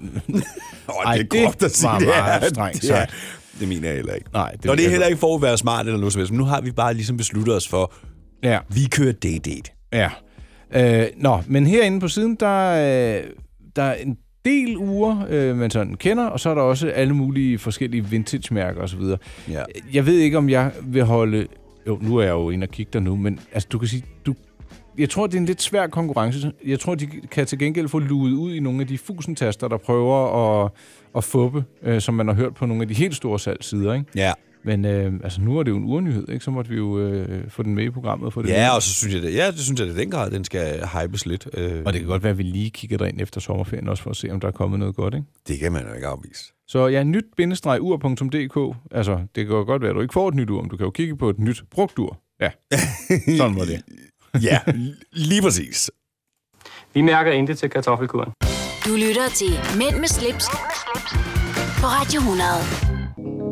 C: oh,
B: Ej,
C: det
B: det
C: er groft at sige,
B: var
C: det er.
B: meget strengt
C: det, er,
B: sagt.
C: det mener jeg heller ikke.
B: Nej,
C: det, og det er heller ikke for at være smart eller noget som helst, men nu har vi bare ligesom besluttet os for,
B: Ja.
C: vi kører date
B: Ja. Øh, nå, men herinde på siden, der, øh, der er en del uger, øh, man sådan kender, og så er der også alle mulige forskellige vintage-mærker osv.
C: Ja.
B: Jeg ved ikke, om jeg vil holde... Jo, nu er jeg jo inde og kigge der nu, men altså, du kan sige, du... Jeg tror, det er en lidt svær konkurrence. Jeg tror, de kan til gengæld få luet ud i nogle af de fusentaster, der prøver at, at fuppe, øh, som man har hørt på nogle af de helt store salgssider, ikke?
C: Ja.
B: Men øh, altså, nu er det jo en urnyhed, ikke? Så måtte vi jo øh, få den med i programmet. og Få det
C: Ja,
B: med.
C: og så synes jeg, det, ja, det synes jeg, det er den grad, den skal hypes lidt. Øh,
B: Og det kan godt være, at vi lige kigger derind efter sommerferien også, for at se, om der er kommet noget godt, ikke?
C: det kan man jo ikke
B: [laughs]
C: afvise.
B: Så ja, nyt-ur.dk. Altså, det kan jo godt være, at du ikke får et nyt ur, men du kan jo kigge på et nyt brugt ur.
C: [laughs]
B: Ja, sådan var det.
C: ja, lige præcis.
L: Vi mærker intet til kartoffelkuren.
A: Du lytter til Mænd med slips, på Radio 100.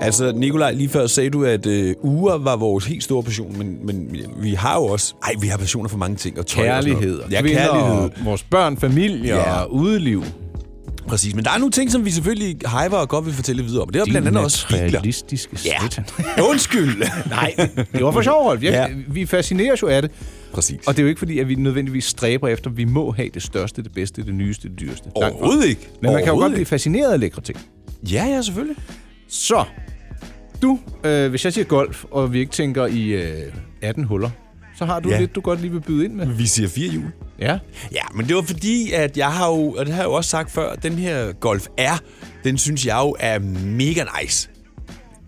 C: Altså, Nikolaj, lige før sagde du, at øh, uger var vores helt store passion, men, men vi har jo også... Ej, vi har passioner for mange ting. Og tøj
B: Kærlighed
C: Og
B: og
C: sådan noget.
B: kvinder
C: ja, kærlighed.
B: og vores børn, familie
C: Ja.
B: og udeliv.
C: Præcis, men der er nogle ting, som vi selvfølgelig hyper og godt vil fortælle videre om. Det er
B: Din
C: blandt andet også biler.
B: materialistiske
C: Ja. [laughs]
B: [laughs]
C: Undskyld. Nej,
B: Det var for sjov, Rolf. Jeg,
C: Ja.
B: ja. Vi fascineres jo af det.
C: Præcis.
B: Og det er jo ikke fordi, at vi nødvendigvis stræber efter, at vi må have det største, det bedste, det nyeste, det dyreste. Langt fra.
C: Overhovedet ikke.
B: Men man kan jo
C: Overhovedet
B: godt blive
C: ikke.
B: fascineret af lækre ting.
C: Ja, ja, selvfølgelig.
B: Så, du, øh, hvis jeg siger golf, og vi ikke tænker i øh, 18 huller, så har du
C: Ja.
B: ja. lidt, du godt lige vil byde ind med.
C: Vi siger fire hjul.
B: Ja.
C: Ja, men det var fordi, at jeg har jo, og det har jeg jo også sagt før, at den her Golf R, den synes jeg jo er mega nice.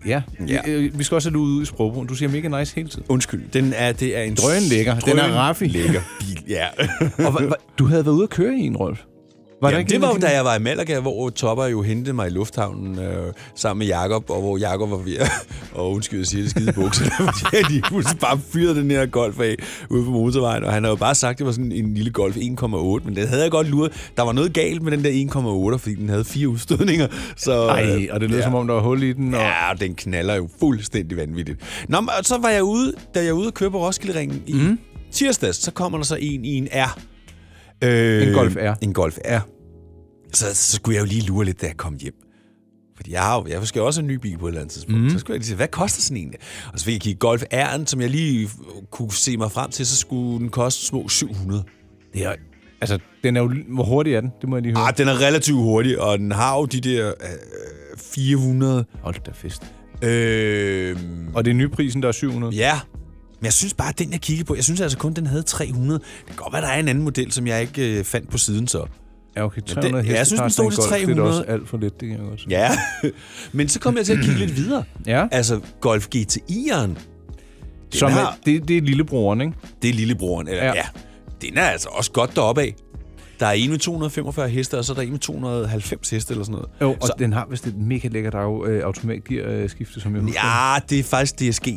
B: Ja. ja. Vi, øh, vi skal også have det ud i sprogbrugen. Du siger mega nice hele tiden.
C: Undskyld. Den er, det er en...
B: Drøn lækker. Den er raffi.
C: lækker bil, ja.
B: Og hva, hva, du havde været ude at køre i en, Rolf.
C: Var Jamen, det var jo, da jeg var i Malaga, hvor Topper jo hentede mig i lufthavnen øh, sammen med Jakob, og hvor Jakob var ved at, [laughs] og undskyld, jeg siger det skide bukser, [laughs] fordi de pludselig bare fyrede den her golf af ude på motorvejen, og han havde jo bare sagt, at det var sådan en lille golf 1,8, men den havde jeg godt luret. Der var noget galt med den der 1,8, fordi den havde fire udstødninger. Så, øh,
B: Ej, og det lød som om, der var hul i den.
C: Og... Ja, og den knaller jo fuldstændig vanvittigt. Nå, men så var jeg ude, da jeg var ude og køre på Roskilde-ringen i mm. tirsdags, så kommer der så en i en R.
B: Øh, en Golf R.
C: En Golf R. Så, så skulle jeg jo lige lure lidt, da jeg kom hjem. Fordi jeg, har, jo- jeg skal jo også have en ny bil på et eller andet tidspunkt. Mm. Så skulle jeg lige se, hvad koster sådan en? Og så fik jeg kigge Golf R'en, som jeg lige kunne se mig frem til, så skulle den koste små 700.
B: Det er, altså, den er jo, hvor hurtig er den? Det må jeg lige høre.
C: Ah, den er relativt hurtig, og den har jo de der øh, 400...
B: Hold da fest.
C: Øh,
B: og det er nyprisen, der er 700?
C: Ja. Men jeg synes bare, at den, jeg kiggede på, jeg synes altså kun, den havde 300. Det kan godt være, der er en anden model, som jeg ikke øh, fandt på siden så.
B: Ja, okay.
C: den-
B: 300
C: ja, jeg synes, den
B: hestekræfter i
C: stod til
B: golf, Det er
C: 300.
B: da også alt for lidt, det kan jeg godt sige.
C: Ja, [laughs] men så kom jeg til at kigge lidt [clears throat] videre.
B: Ja.
C: Altså, Golf GTI'eren. den
B: Som er, det, det er lillebroren, ikke?
C: Det er lillebroren, eller
B: Ja.
C: ja. ja. Den er altså også godt deroppe af. Der er en med 245 heste, og så er der en med 290 heste eller sådan noget.
B: Jo, og
C: så,
B: så, den har vist et mega lækkert au- øh, automatgearskifte, som jeg husker.
C: ja, det er faktisk DSG.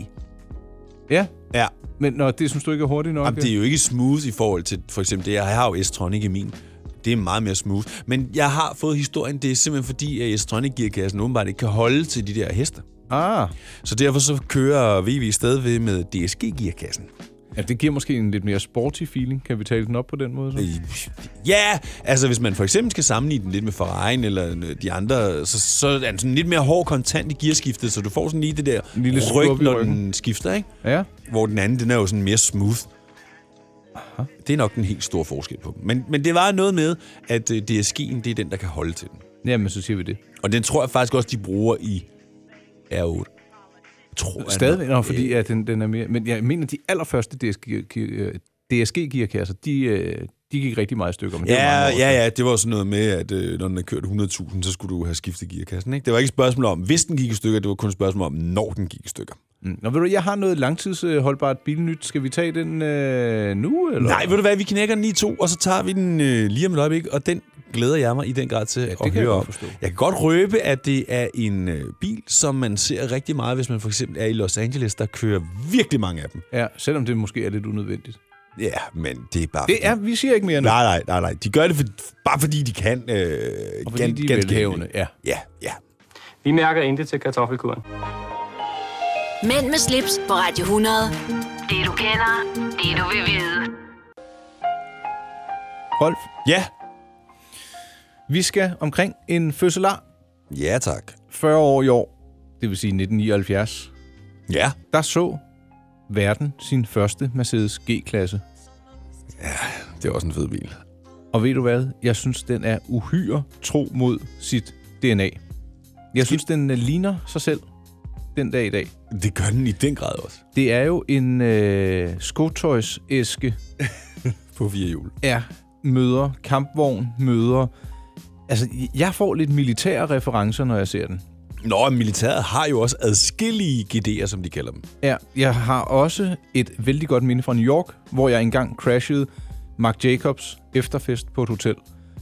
B: Ja.
C: Ja.
B: Men når det synes du ikke er hurtigt nok? øh?
C: Jamen, det er jo ikke smooth i forhold til for eksempel det. Jeg har jo S-Tronic i min. Det er meget mere smooth. Men jeg har fået historien, det er simpelthen fordi, at S-Tronic-gearkassen åbenbart ikke kan holde til de der heste.
B: Ah.
C: Så derfor så kører VV stadigvæk med DSG-gearkassen.
B: Ja, det giver måske en lidt mere sporty feeling. Kan vi tale den op på den måde? Så?
C: Ja, altså hvis man for eksempel skal sammenligne den lidt med Ferrari'en eller de andre, så, så er den sådan lidt mere hård kontant i gearskiftet, så du får sådan lige det der
B: En lille skub
C: ryg,
B: i
C: når
B: ryggen.
C: den skifter, ikke?
B: Ja.
C: Hvor den anden, den er jo sådan mere smooth. Aha. Det er nok den helt store forskel på dem. Men, men det var noget med, at øh, DSG'en, det er den, der kan holde til den.
B: Jamen, så siger vi det.
C: Og den tror jeg faktisk også, de bruger i R8. Tror jeg
B: Stadigvæk,
C: nok.
B: nå, fordi at den, den er mere... Men jeg mener, de allerførste DSG, øh, DSG-gearkasser, de, øh, de gik rigtig meget i stykker. Men det var
C: Ja,
B: mange år siden.
C: ja, ja, det var jo sådan noget med, at øh, når den havde kørt 100.000, så skulle du have skiftet gearkassen. Ikke? Det var ikke et spørgsmål om, hvis den gik i stykker, det var kun et spørgsmål om, når den gik i stykker.
B: Mm. Nå, ved du, jeg har noget langtidsholdbart bilnyt. Skal vi tage den øh, nu, eller?
C: Nej, ved du hvad, vi knækker den i to, og så tager vi den øh, lige om et øjeblik, og den glæder jeg mig i den grad til ja, at
B: kan jeg
C: høre
B: godt
C: om.
B: forstå.
C: Jeg kan godt røbe, at det er en øh, bil, som man ser rigtig meget, hvis man for eksempel er i Los Angeles, der kører virkelig mange af dem.
B: Ja, selvom det måske er lidt unødvendigt.
C: Ja, men det er bare...
B: Det er, vi siger ikke mere nu.
C: Nej, nej, nej, nej. De gør det for, bare fordi de kan. Øh,
B: Og fordi de er velhavende, ja.
C: Ja, ja.
L: Vi mærker intet til kartoffelkuren.
A: Mænd med slips på Radio 100. Det du kender, det du vil vide.
B: Rolf,
C: Ja.
B: vi skal omkring en fødselar.
C: Ja, tak.
B: 40 år i år, det vil sige 1979,
C: Ja.
B: der så verden sin første Mercedes G-klasse.
C: Det er også en fed bil.
B: Og ved du hvad? Jeg synes, den er uhyre tro mod sit DNA. Jeg synes, den øh, ligner sig selv den dag i dag.
C: Det gør den i den grad også.
B: Det er jo en øh, skotøjsæske,
C: På fire hjul.
B: er møder, kampvogn møder. Altså, jeg får lidt militære referencer, når jeg ser den.
C: Nå, militæret har jo også adskillige GD'er, som de kalder dem.
B: Ja, jeg har også et vældig godt minde fra New York, hvor jeg engang crashede Mark Jacobs efterfest på et hotel.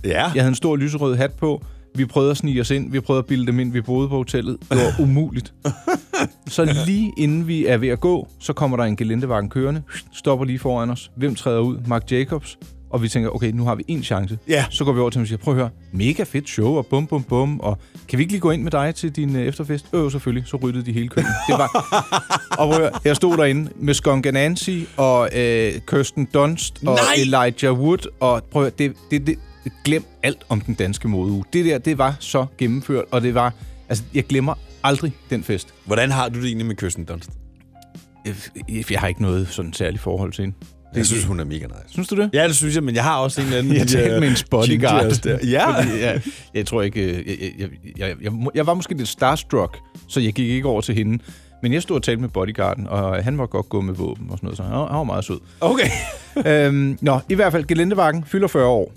C: Ja.
B: Jeg havde en stor lyserød hat på. Vi prøvede at snige os ind. Vi prøvede at bilde dem ind. Vi boede på hotellet. Det var umuligt. så lige inden vi er ved at gå, så kommer der en gelindevagen kørende. Stopper lige foran os. Hvem træder ud? Mark Jacobs. Og vi tænker, okay, nu har vi en chance.
C: Ja.
B: Så går vi over til ham og siger, prøv at høre, mega fedt show, og bum, bum, bum, og kan vi ikke lige gå ind med dig til din øh, efterfest? Øh, selvfølgelig. Så ryddede de hele køen. Det var, og prøv at høre, jeg stod derinde med Skunk Nancy og øh, Kirsten Dunst og
C: Nej!
B: Elijah Wood. Og prøv at høre, det, det, det, glem alt om den danske modeuge. Det der, det var så gennemført, og det var... Altså, jeg glemmer aldrig den fest. Øh,
C: Hvordan har du det egentlig med Kirsten Dunst?
B: Jeg, jeg har ikke noget sådan særligt forhold til hende.
C: Jeg synes, hun er mega nice.
B: Synes du det?
C: Ja, det synes jeg, men jeg har også en eller anden...
B: [laughs]
C: øh,
B: Jeg talte med en bodyguard.
C: Der. Ja.
B: øh, Fordi jeg, jeg tror ikke... øh, Jeg, jeg, jeg, jeg, jeg, må- jeg var måske lidt starstruck, så jeg gik ikke over til hende. Men jeg stod og talte med bodyguarden, og han var godt gå med våben og sådan noget, så han var, han var meget sød.
C: Okay.
B: [laughs] øhm, nå, i hvert fald, Gelendevakken fylder 40 år.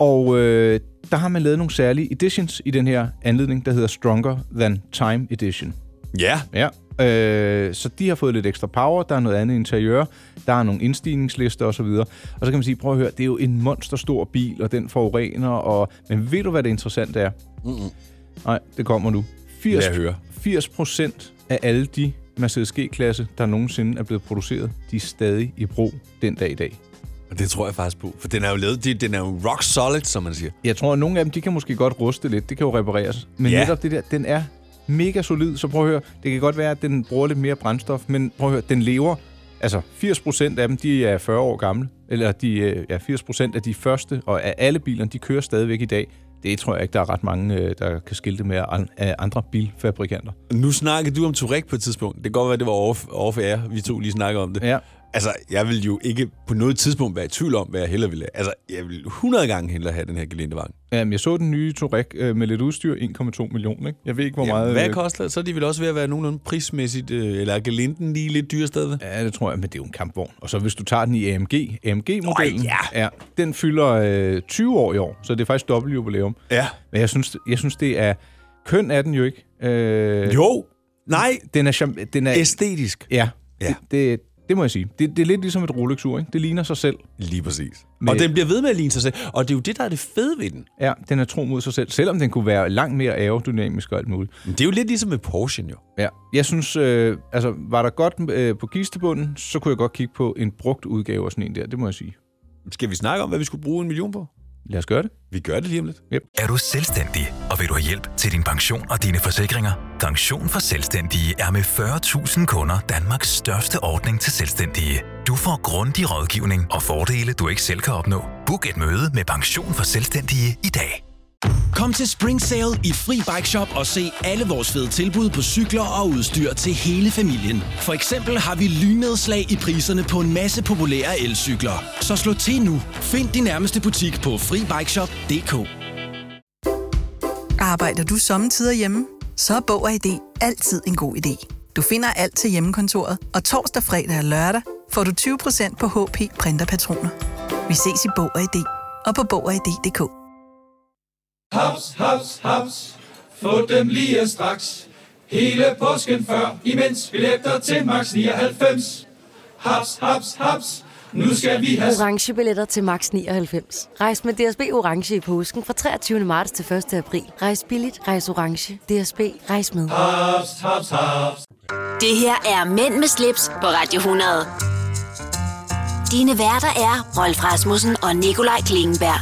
B: Og øh, der har man lavet nogle særlige editions i den her anledning, der hedder Stronger Than Time Edition.
C: Ja.
B: ja. Øh, så de har fået lidt ekstra power, der er noget andet interiør, der er nogle indstigningslister osv. Og så kan man sige, prøv at høre, det er jo en monsterstor bil, og den forurener, og... men ved du, hvad det interessante er?
C: Mm-mm.
B: Nej, det kommer nu.
C: Lad høre.
B: 80 procent af alle de Mercedes G-klasse, der nogensinde er blevet produceret, de er stadig i brug den dag i dag.
C: Og det tror jeg faktisk på. For den er jo lavet, de- den er jo rock solid, som man siger.
B: Jeg tror, at nogle af dem, de kan måske godt ruste lidt. Det kan jo repareres. Men
C: Ja.
B: ja. netop det der, den er mega solid. Så prøv at høre, det kan godt være, at den bruger lidt mere brændstof, men prøv at høre, den lever. Altså, 80 procent af dem, de er 40 år gamle. Eller de, øh, ja, 80 procent af de første, og af alle bilerne, de kører stadigvæk i dag. Det tror jeg ikke, der er ret mange, øh, der kan skilte med an- af andre bilfabrikanter.
C: Nu snakkede du om Touareg på et tidspunkt. Det kan godt være, det var off, off air. Vi to lige snakkede om det.
B: Ja.
C: Altså, jeg vil jo ikke på noget tidspunkt være i tvivl om, hvad jeg hellere ville have. Altså, jeg vil 100 gange hellere have den her gelindevagn.
B: Jamen, jeg så den nye Touareg øh, med lidt udstyr, 1,2 millioner. Ikke? Jeg ved ikke, hvor
C: Jamen,
B: meget...
C: Hvad
B: øh,
C: koster det? Så er de vel også ved at være nogenlunde prismæssigt, øh, eller er gelinden lige lidt dyre stadigvæk?
B: Ja, det tror jeg, men det er jo en kampvogn. Og så hvis du tager den i AMG, AMG-modellen, oh, ja. Ja, den fylder øh, 20 år i år, så det er faktisk dobbelt jubilæum.
C: Ja.
B: Men jeg synes, jeg synes det er... Køn er den jo ikke. Øh,
C: Jo. Nej.
B: Den er, charm- den er...
C: Æstetisk.
B: Ja.
C: Ja.
B: Det, det, det må jeg sige. Det, det er lidt ligesom et Rolex-ur, ikke? Det ligner sig selv.
C: Lige præcis.
B: Med-
C: Og den bliver ved med at ligne sig selv. Og det er jo det, der er det fede ved den.
B: Ja, den er tro mod sig selv, selvom den kunne være langt mere aerodynamisk og alt muligt.
C: Men det er jo lidt ligesom med Porsche, jo.
B: Ja, jeg synes, øh, altså var der godt øh, på kistebunden, så kunne jeg godt kigge på en brugt udgave af sådan en der, det må jeg sige.
C: Skal vi snakke om, hvad vi skulle bruge en million på?
B: Lad os gøre det.
C: Vi gør det lige om lidt.
B: Yep.
N: Er du selvstændig, og vil du have hjælp til din pension og dine forsikringer? Pension for Selvstændige er med 40.000 kunder Danmarks største ordning til selvstændige. Du får grundig rådgivning og fordele, du ikke selv kan opnå. Book et møde med Pension for Selvstændige i dag.
O: Kom til Spring Sale i Fri Bike Shop og se alle vores fede tilbud på cykler og udstyr til hele familien. For eksempel har vi lynedslag i priserne på en masse populære elcykler. Så slå til nu. Find din nærmeste butik på FriBikeShop.dk.
P: Arbejder du sommetider hjemme? Så er Bog og ID altid en god idé. Du finder alt til hjemmekontoret, og torsdag, fredag og lørdag får du 20% på HP Printerpatroner. Vi ses i Bog og ID og på Bog og ID.dk.
Q: Haps, haps, haps. Få dem lige straks. Hele påsken før, imens billetter til max 99. Haps, haps, haps. Nu skal vi have...
R: orange billetter til max 99. Rejs med DSB orange i påsken fra 23. marts til 1. april. Rejs billigt, rejs orange. DSB rejs med.
Q: Haps, haps, haps.
A: Det her er Mænd med slips på Radio 100. Dine værter er Rolf Rasmussen og Nikolaj Klingenberg.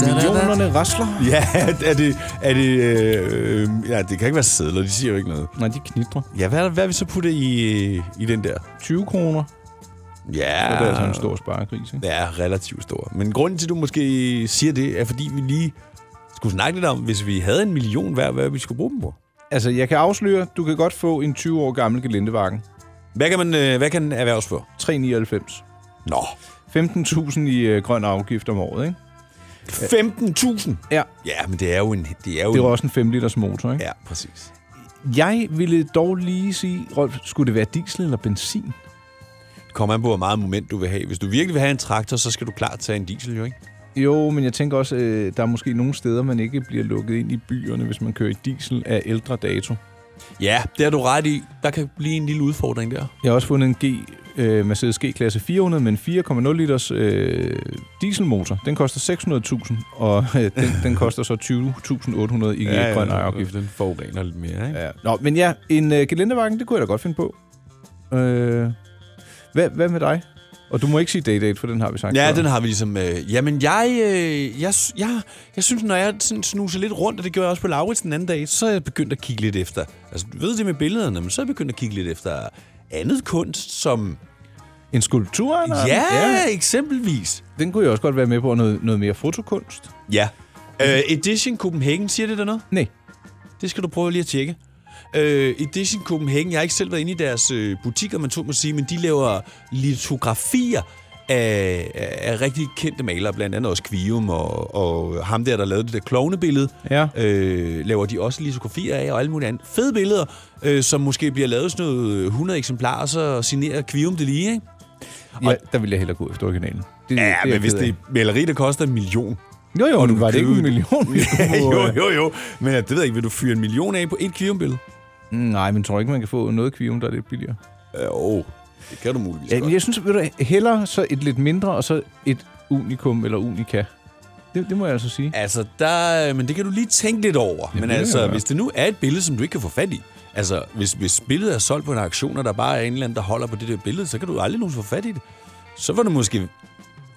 B: Millionerne rasler.
C: Ja, er det... Er det øh, ja, det kan ikke være sædler, de siger jo ikke noget.
B: Nej, de knitrer.
C: Ja, hvad, hvad vil vi så putte i, øh, i den der?
B: 20 kroner.
C: Ja.
B: Så er det altså en stor sparegris, ikke?
C: Ja, relativt stor. Men grunden til, at du måske siger det, er fordi vi lige skulle snakke lidt om, hvis vi havde en million hver, hvad vi skulle bruge dem på.
B: Altså, jeg kan afsløre, du kan godt få en 20 år gammel gelindevagen.
C: Hvad kan, man, øh, hvad kan erhverves for?
B: 3,99.
C: Nå.
B: 15.000 i øh, grøn afgift om året, ikke?
C: 15.000?
B: Ja.
C: Ja, men det er jo en... Det er jo
B: Det er
C: en,
B: også en 5 liters motor, ikke?
C: Ja, præcis.
B: Jeg ville dog lige sige, Rolf, skulle det være diesel eller benzin?
C: Det kommer an på, hvor meget moment du vil have. Hvis du virkelig vil have en traktor, så skal du klart tage en diesel, jo ikke?
B: Jo, men jeg tænker også, øh, der er måske nogle steder, man ikke bliver lukket ind i byerne, hvis man kører i diesel af ældre dato.
C: Ja, det har du ret i. Der kan blive en lille udfordring der.
B: Jeg har også fundet en G, øh, Mercedes G-klasse 400 med en 4,0 liters øh, dieselmotor. Den koster 600.000, og øh, den, den koster så 20.800 i ja, grøn ejerafgift.
C: Den forurener lidt mere, ikke?
B: Ja. Nå, men ja, en øh, gelindevagen, det kunne jeg da godt finde på. Øh, hvad, hvad med dig? Og du må ikke sige day-date, for den har vi sagt.
C: Ja,
B: før.
C: den har vi ligesom... Øh, jamen, jeg, øh, jeg, sy- jeg, jeg synes, når jeg sådan snuser lidt rundt, og det gjorde jeg også på Laurits den anden dag, så er jeg begyndt at kigge lidt efter... Altså, du ved det med billederne, men så er jeg begyndt at kigge lidt efter andet kunst, som...
B: En skulptur, eller?
C: Ja, ja, eksempelvis.
B: Den kunne jeg også godt være med på, og noget, noget mere fotokunst.
C: Ja. Øh, Edition Copenhagen, siger det der noget?
B: Nej.
C: Det skal du prøve lige at tjekke. Øh, Edition Copenhagen, jeg har ikke selv været inde i deres øh, butikker, man tog må sige, men de laver litografier af, af, af rigtig kendte malere, blandt andet også Kvium og, og ham der, der lavede det der klovnebillede,
B: ja.
C: øh, laver de også litografier af og alle mulige andre fede billeder, øh, som måske bliver lavet sådan noget 100 eksemplarer, så signerer Kvium det lige, ikke?
B: Ja, der ville jeg hellere gå efter originalen. Det,
C: Ja,
B: er
C: men
B: jeg
C: hvis
B: ked
C: det er
B: af.
C: maleri, der koster en million,
B: Jo, jo,
C: Og
B: men
C: du
B: var det ikke
C: købe-
B: en [laughs] million? vi
C: ja,
B: kunne,
C: [laughs] jo,
B: øh,
C: jo, jo. Men jeg- det ved jeg ikke, vil du fyre en million af på et kviumbillede?
B: mm, Nej, men tror ikke, man kan få noget kvium, der er lidt billigere.
C: Jo, Øh, det kan du muligvis
B: Ja,
C: godt.
B: men jeg synes, ved du, hellere så et lidt mindre, og så et unikum eller unika. Det, det må jeg altså sige.
C: Altså, der, men det kan du lige tænke lidt over.
B: det
C: men
B: kan
C: altså,
B: jeg gøre.
C: hvis det nu er et billede, som du ikke kan få fat i, altså, hvis, hvis billedet er solgt på en auktion, og der bare er en eller anden, der holder på det der billede, så kan du aldrig nogensinde få fat i det. Så var det måske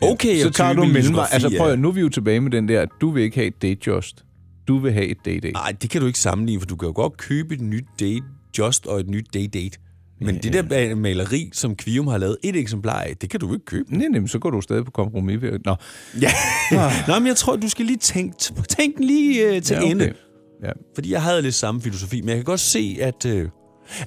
C: okay
B: så
C: at
B: tager
C: købe
B: du
C: en
B: en mellemvej.
C: litografi
B: Altså
C: af-
B: prøv at, nu er vi jo tilbage med den der, at du vil ikke have et datejust. Du vil have et dayday.
C: Nej, det kan du ikke sammenligne, for du kan jo godt købe et nyt date just og et nyt day-date. Men yeah. det der ma- maleri, som Kvium har lavet et eksemplar af, det kan du ikke købe.
B: Nej, nej, så går du stadig på kompromis. Ved. Nå.
C: Ja. Nå, men jeg tror, du skal lige tænke, tænk den lige øh, til
B: Ja,
C: ja,
B: okay.
C: okay. ende.
B: Ja.
C: Fordi jeg havde lidt samme filosofi, men jeg kan godt se, at øh,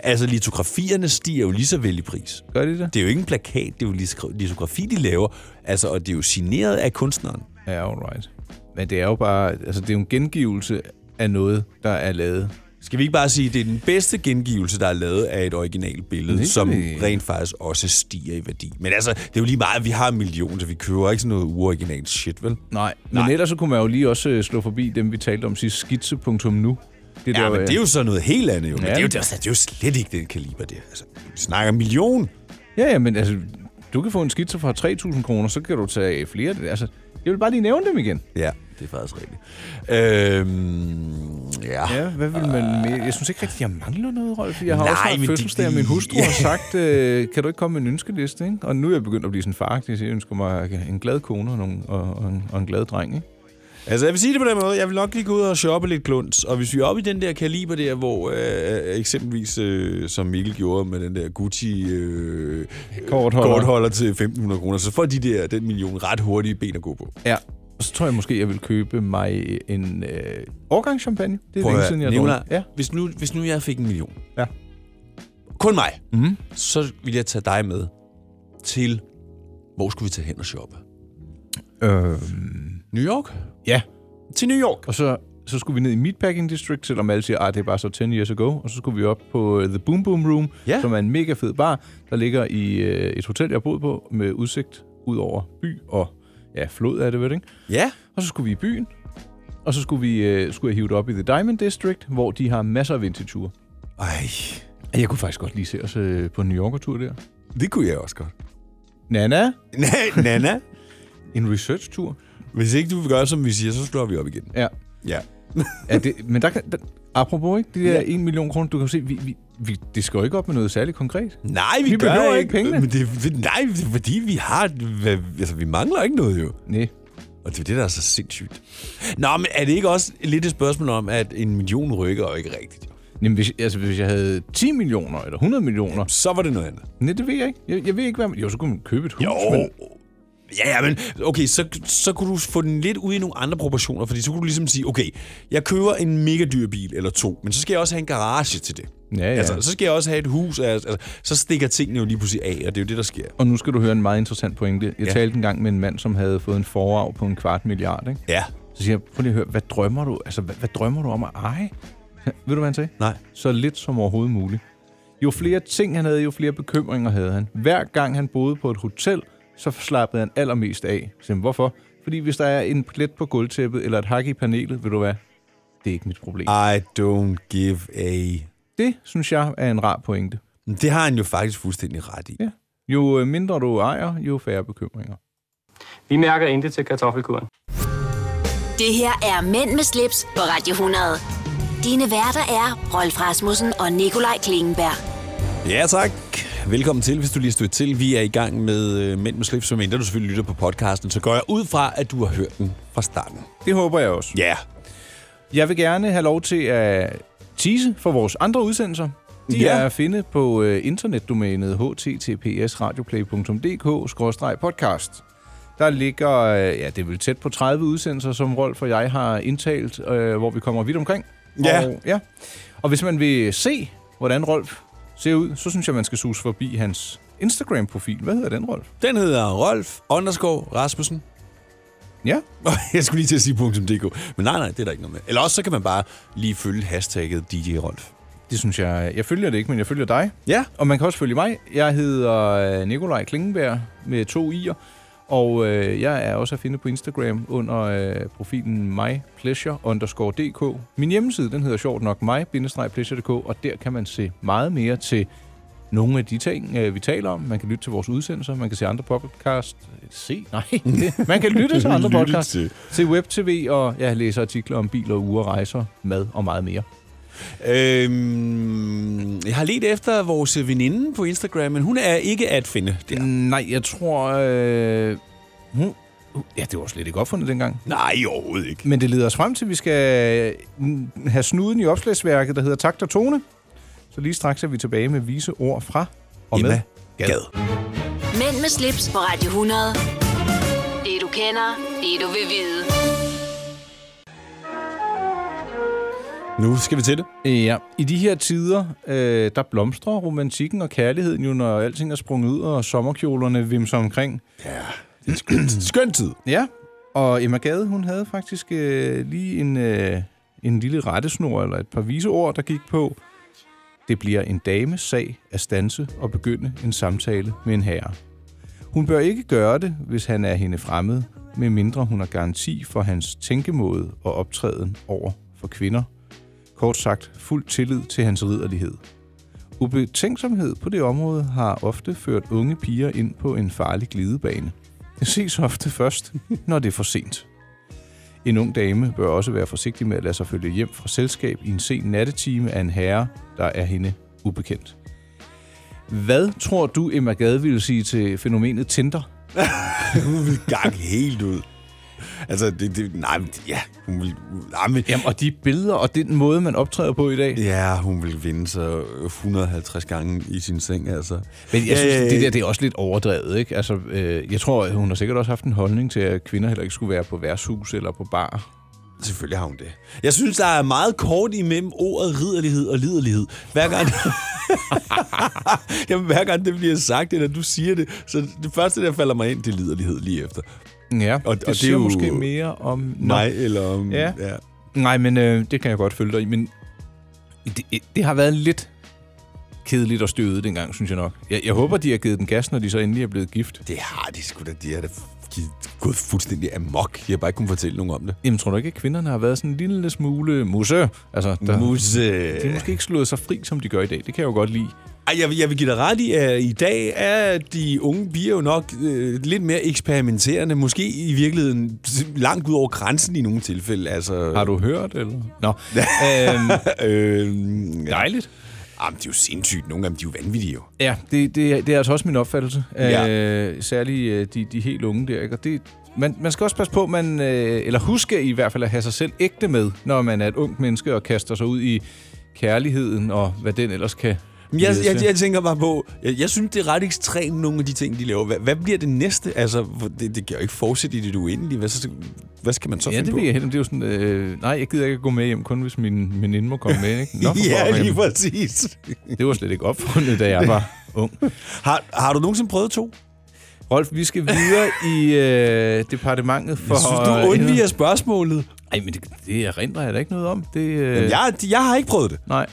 C: altså, litografierne stiger jo lige så vel i pris.
B: Gør de det?
C: Det er jo ikke en plakat, det er jo litokra- litografi, de laver. Altså, og det er jo signeret af kunstneren.
B: Ja, alright. Men det er jo bare, altså det er jo en gengivelse af noget, der er lavet.
C: Skal vi ikke bare sige, at det er den bedste gengivelse, der er lavet af et originalt billede,
B: Det er
C: som
B: det.
C: rent faktisk også stiger i værdi. Men altså, det er jo lige meget, at vi har en million, så vi køber ikke sådan noget uoriginalt shit, vel?
B: Nej. Men ellers så kunne man jo lige også øh, slå forbi dem, vi talte om sidst, skitse.nu.
C: Det ja,
B: der,
C: men
B: øh,
C: det er jo så noget helt andet, jo. Men
B: Ja.
C: det, er jo, det, er, jo- det er jo slet ikke den kaliber, det. er. Altså, vi snakker million.
B: Ja, ja, men altså, du kan få en skitse for 3.000 kroner, så kan du tage flere. Altså, jeg vil bare lige nævne dem igen.
C: Ja, det er faktisk rigtigt. Øhm, ja.
B: Ja, hvad vil man mere? Jeg synes ikke rigtig, jeg mangler noget, Rolf. Jeg har
C: Nej,
B: også
C: men
B: haft
C: det-
B: fødselsdag, og min hustru [laughs] har sagt, øh, kan du ikke komme med en ønskeliste? Ikke? Og nu er jeg begyndt at blive sådan faragtig, så jeg ønsker mig en glad kone og, nogle, og, og, en, og en glad dreng. Ikke?
C: Altså, jeg vil sige det på den måde. Jeg vil nok lige gå ud og shoppe lidt klunds. Og hvis vi er oppe i den der kaliber der, hvor øh, eksempelvis, øh, som Mikkel gjorde med den der Gucci øh,
B: Kortholder.
C: kortholder til 1.500 kroner, så får de der den million ret hurtige ben at gå på.
B: Ja, og så tror jeg måske, jeg vil købe mig en øh, årgang champagne. Det er
C: Prøv at
B: længe
C: høre,
B: siden, jeg har
C: Nicolaj,
B: drukket. Ja.
C: hvis, nu, hvis nu jeg fik en million.
B: Ja.
C: Kun mig.
B: Mm.
C: Så vil jeg tage dig med til, hvor skulle vi tage hen og shoppe?
B: Øh,
C: New York?
B: ja.
C: Til New York.
B: Og så, så skulle vi ned i Meatpacking District, selvom alle siger, at det er bare så 10 years ago. Og så skulle vi op på øh, The Boom Boom Room,
C: Ja.
B: som er en mega fed bar, der ligger i øh, et hotel, jeg har boet på, med udsigt ud over by og ja, flod er det vel, ikke?
C: Ja.
B: Og så skulle vi i byen, og så skulle, vi, øh, skulle jeg hive det op i The Diamond District, hvor de har masser af vintage-ture.
C: Ej,
B: Jeg kunne faktisk godt lige se os øh, på en New Yorker-tur der.
C: det kunne jeg også godt. [laughs]
B: Nana,
C: Nej, Nana,
B: en research-tur.
C: hvis ikke du vil gøre, som vi siger, så slår vi op igen.
B: Ja.
C: Ja.
B: Ja, det, men der kan... Der, apropos, ikke? Det der ja. 1 million kroner, du kan jo se, vi, vi, vi, det skal jo ikke op med noget særligt konkret.
C: Nej, vi,
B: Vi
C: gør
B: behøver
C: ikke,
B: ikke pengene.
C: Men det, det- nej, det er fordi vi har... hvad- Altså, vi mangler ikke noget jo.
B: Nej.
C: Og det er det, der er så sindssygt. Nå, men er det ikke også lidt et spørgsmål om, at en million rykker jo ikke rigtigt?
B: Jamen, hvis, altså, hvis jeg havde 10 millioner eller 100 millioner...
C: Så var det noget andet.
B: Nej, det ved jeg ikke. Jeg, jeg ved ikke, hvad man... Jo, så kunne man købe et hus,
C: Jo.
B: men...
C: Ja, ja, men okay, så, så kunne du få den lidt ud i nogle andre proportioner, fordi så kunne du ligesom sige, okay, jeg køber en mega dyr bil eller to, men så skal jeg også have en garage til det.
B: Ja, ja.
C: Altså, så skal jeg også have et hus, altså, altså, så stikker tingene jo lige pludselig af, og det er jo det, der sker.
B: Og nu skal du høre en meget interessant pointe. Jeg
C: Ja.
B: ja. talte engang med en mand, som havde fået en forarv på en kvart milliard, ikke?
C: Ja.
B: Så siger jeg, prøv lige at høre, hvad drømmer du, altså, hvad, hvad drømmer du om at eje? [laughs] Ja, Ved du, hvad han sagde?
C: Nej.
B: Så lidt som overhovedet muligt. Jo flere ting han havde, jo flere bekymringer havde han. Hver gang han boede på et hotel, så slappede han allermest af. Så siger jeg, hvorfor? Fordi hvis der er en plet på gulvtæppet eller et hak i panelet, ved du hvad? Det er ikke mit problem.
C: I don't give a...
B: Det, synes jeg, er en rar pointe.
C: Men Det har han jo faktisk fuldstændig ret i.
B: Ja. Jo øh, mindre du ejer, jo færre bekymringer.
L: Vi mærker intet til kartoffelkuren.
A: Det her er Mænd med slips på Radio 100. Dine værter er Rolf Rasmussen og Nikolaj Klingenberg.
C: Ja, tak. Velkommen til, hvis du lige stod til. Vi er i gang med øh, Mænd med slips, som mindre du selvfølgelig lytter på podcasten, så går jeg ud fra, at du har hørt den fra starten.
B: Det håber jeg også.
C: Ja.
B: Jeg vil gerne have lov til at tease for vores andre udsendelser. De
C: Ja.
B: ja. er at finde på øh, internetdomænet https:/radioplay.dk-podcast. Der ligger, øh, ja, det er vel tæt på 30 udsendelser, som Rolf og jeg har indtalt, øh, hvor vi kommer vidt omkring.
C: Ja.
B: Og, ja. og hvis man vil se, hvordan Rolf ser ud, så synes jeg, man skal suse forbi hans Instagram-profil. Hvad hedder den, Rolf?
C: Den hedder Rolf underscore Rasmussen. [laughs]
B: Ja.
C: Jeg skulle lige til at sige .dk, men nej, nej, det er der ikke noget med. Eller også så kan man bare lige følge hashtagget DJ Rolf.
B: Det synes jeg. Jeg følger det ikke, men jeg følger dig.
C: Ja.
B: Og man kan også følge mig. Jeg hedder øh, Nikolaj Klingenberg med to i'er. Og øh, jeg er også at finde på Instagram under øh, profilen mypleasure_dk. Min hjemmeside, den hedder sjovt nok my-pleasure.dk, og der kan man se meget mere til nogle af de ting, øh, vi taler om. Man kan lytte til vores udsendelser, man kan se andre podcast. Se? Nej. [laughs] det- man kan
C: [laughs]
B: lytte til andre
C: Lytte
B: podcast.
C: til.
B: Se web-tv, og jeg læser artikler om biler, uger, rejser, mad og meget mere.
C: Øhm, jeg har let efter vores veninde på Instagram, men hun er ikke at finde der.
B: Nej, jeg tror... Øh, hun, ja, det var slet ikke opfundet dengang.
C: Nej, overhovedet ikke.
B: Men det leder os frem til, at vi skal mm, have snuden i opslagsværket, der hedder Takt og Tone. Så lige straks er vi tilbage med vise ord fra og Emma med Gad. Gad.
A: Mænd med slips på Radio 100. Det du kender, det du vil vide.
C: Nu skal vi til det. [clears throat]
B: Ja, i de her tider, øh, der blomstrer romantikken og kærligheden jo, når alting er sprunget ud, og sommerkjolerne vimser omkring. Ja,
C: skøn tid.
B: Ja, og Emma Gade, hun havde faktisk øh, lige en, øh, en lille rettesnor, eller et par viseord, der gik på, det bliver en dames sag at stanse og begynde en samtale med en herre. Hun bør ikke gøre det, hvis han er hende fremmed, medmindre hun har garanti for hans tænkemåde og optræden over for kvinder. Kort sagt, fuld tillid til hans ridderlighed. Ubetænksomhed på det område har ofte ført unge piger ind på en farlig glidebane. Det ses ofte først, når det er for sent. En ung dame bør også være forsigtig med at lade sig følge hjem fra selskab i en sen nattetime af en herre, der er hende ubekendt. Hvad tror du, Emma Gade ville sige til fænomenet Tinder?
C: hun vil gang helt ud. Altså, det, det, nej, men det- ja, hun vil... Nej, men,
B: Jamen, og de billeder og den måde, man optræder på i dag.
C: Ja, hun vil vinde sig 150 gange i sin seng, altså.
B: Men jeg synes, det der det er også lidt overdrevet, ikke? Altså, øh, jeg tror, hun har sikkert også haft en holdning til, at kvinder heller ikke skulle være på værtshus eller på bar.
C: Selvfølgelig har hun det. Jeg synes, der er meget kort imellem ordet ridderlighed og liderlighed. Hver [laughs] gang, Jamen, hver gang det bliver sagt, eller du siger det, så det første, der falder mig ind, det er liderlighed lige efter.
B: Ja,
C: og,
B: det siger måske mere om... Nå.
C: mig, eller om...
B: Ja. Nej, men øh, det kan jeg godt følge dig i, men det, det har været lidt kedeligt og støvet dengang, synes jeg nok. Jeg, jeg håber, de har givet den gas, når de så endelig er blevet gift.
C: Det har de sgu da. De er da givet- gået fuldstændig amok. De har bare ikke kunnet fortælle nogen om det.
B: Jamen, tror du ikke, at kvinderne har været sådan en lille smule musse? Altså, der,
C: Musse.
B: De har måske ikke slået sig fri, som de gør i dag. Det kan jeg jo godt lide.
C: Ej, jeg, vil- jeg vil give dig ret i, at i dag er de unge piger jo nok øh, lidt mere eksperimenterende. Måske i virkeligheden langt ud over grænsen i nogle tilfælde. Altså,
B: Har du hørt, eller? Nå.
C: øhm,
B: dejligt.
C: Jamen, det er jo sindssygt. Nogle af dem de er jo vanvittige jo.
B: Ja, det, det, er- det er altså også min opfattelse.
C: Ja.
B: Ja. Øh, særligt øh, de, de helt unge der. Ikke? Og det, man, man skal også passe på, man, øh, eller huske i hvert fald at have sig selv ægte med, når man er et ungt menneske og kaster sig ud i kærligheden og hvad den ellers kan
C: Men jeg,
B: lede
C: jeg,
B: til.
C: jeg tænker bare på, jeg, jeg synes, det er ret ekstremt, nogle af de ting, de laver. Hvad, hvad bliver det næste? Altså, hvor- det, det kan jo ikke fortsætte i det uendelige. Hvad, så, hvad skal man så
B: Ja,
C: finde
B: det
C: på?
B: ved jeg heller. Det er jo sådan, øh, nej, jeg gider ikke at gå med hjem, kun hvis min veninde må komme med. Ikke? for
C: [laughs] Ja,
B: pokker,
C: lige
B: jamen.
C: præcis.
B: Det var slet ikke opfundet, da jeg var ung.
C: Har, har du nogensinde prøvet to?
B: Rolf, vi skal videre i øh, departementet for...
C: Jeg synes, du undviger spørgsmålet.
B: Nej, men det, det erindrer jeg da ikke noget om. Det, øh,
C: Jamen, jeg, jeg har ikke prøvet det.
B: Nej.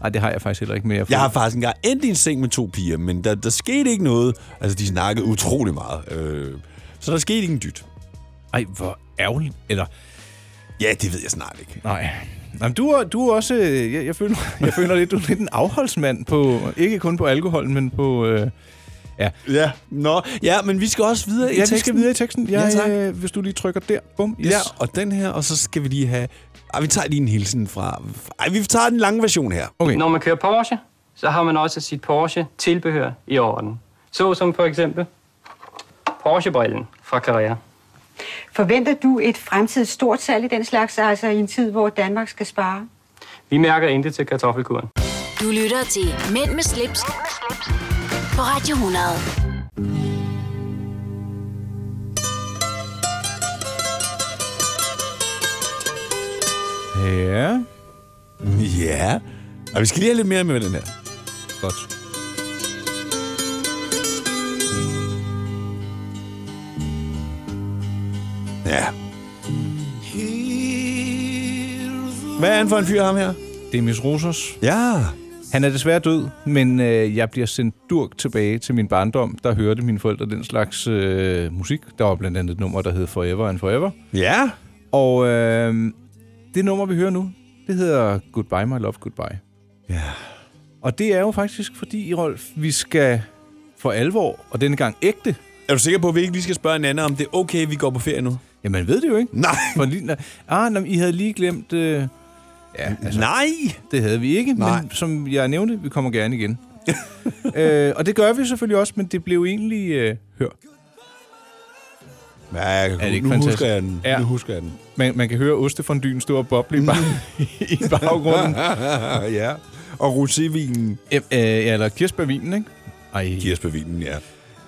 B: Nej, det har jeg faktisk heller ikke mere.
C: Jeg har faktisk engang endt i en seng med to piger, men der, der skete ikke noget. Altså, de snakkede utrolig meget. Øh, så der skete ikke en dyt.
B: Ej, hvor ærgerligt. Eller...
C: Ja, det ved jeg snart ikke.
B: Nej. Jamen, du, er, du er også... øh, Jeg, jeg, føler,
C: [laughs]
B: jeg føler lidt, du er lidt en afholdsmand på... Ikke kun på alkohol, men på... Øh, ja.
C: Ja, nå. Ja, men vi skal også videre i
B: Ja, vi
C: teksten.
B: skal videre i teksten.
C: Ja,
B: Jeg,
C: tak.
B: øh, hvis du lige trykker der. Bum. Yes.
C: Ja, og den her, og så skal vi lige have... Ej, vi tager lige en hilsen fra... Ej, vi tager den lange version her.
B: Okay.
L: Når man kører Porsche, så har man også sit Porsche-tilbehør i orden. Så som for eksempel Porsche-brillen fra Carrera.
M: Forventer du et fremtidigt stort salg i den slags, altså i en tid, hvor Danmark skal spare?
L: Vi mærker intet til kartoffelkuren.
A: Du lytter til Mænd med slips, på Radio 100.
B: Ja.
C: Ja. Og vi skal lige have lidt mere med den her.
B: Godt.
C: Ja. Hvad er han for en fyr, ham her?
B: Det er Miss Rosers.
C: Ja.
B: Han er desværre død, men øh, jeg bliver sendt durk tilbage til min barndom. Der hørte mine forældre den slags øh, musik. Der var blandt andet et nummer, der hed Forever and Forever.
C: Ja.
B: Og øh, det nummer, vi hører nu, det hedder Goodbye My Love Goodbye.
C: Ja.
B: Og det er jo faktisk fordi, Rolf, vi skal for alvor, og denne gang ægte.
C: Er du sikker på, at vi ikke lige skal spørge hinanden, om det er okay, vi går på ferie nu?
B: Jamen, man ved det jo ikke.
C: Nej.
B: For lige, nej. ah, nej, I havde lige glemt... Øh, ja,
C: Altså. Nej!
B: Det havde vi ikke,
C: Nej.
B: men som jeg nævnte, vi kommer gerne igen. [laughs] øh, og det gør vi selvfølgelig også, men det blev egentlig... Øh, hør.
C: Ja, jeg kan,
B: Er det ikke
C: nu
B: fantastisk?
C: husker jeg den.
B: Ja.
C: Nu husker jeg den.
B: Man, man kan høre ostefondyen stå og boble
C: Mm.
B: i, bag, [laughs] i [laughs]
C: [laughs]
B: baggrunden.
C: ja. Og rosévinen.
B: Øh, øh, ja, eller kirsebærvinen, ikke? Ej.
C: Kirsebærvinen, ja.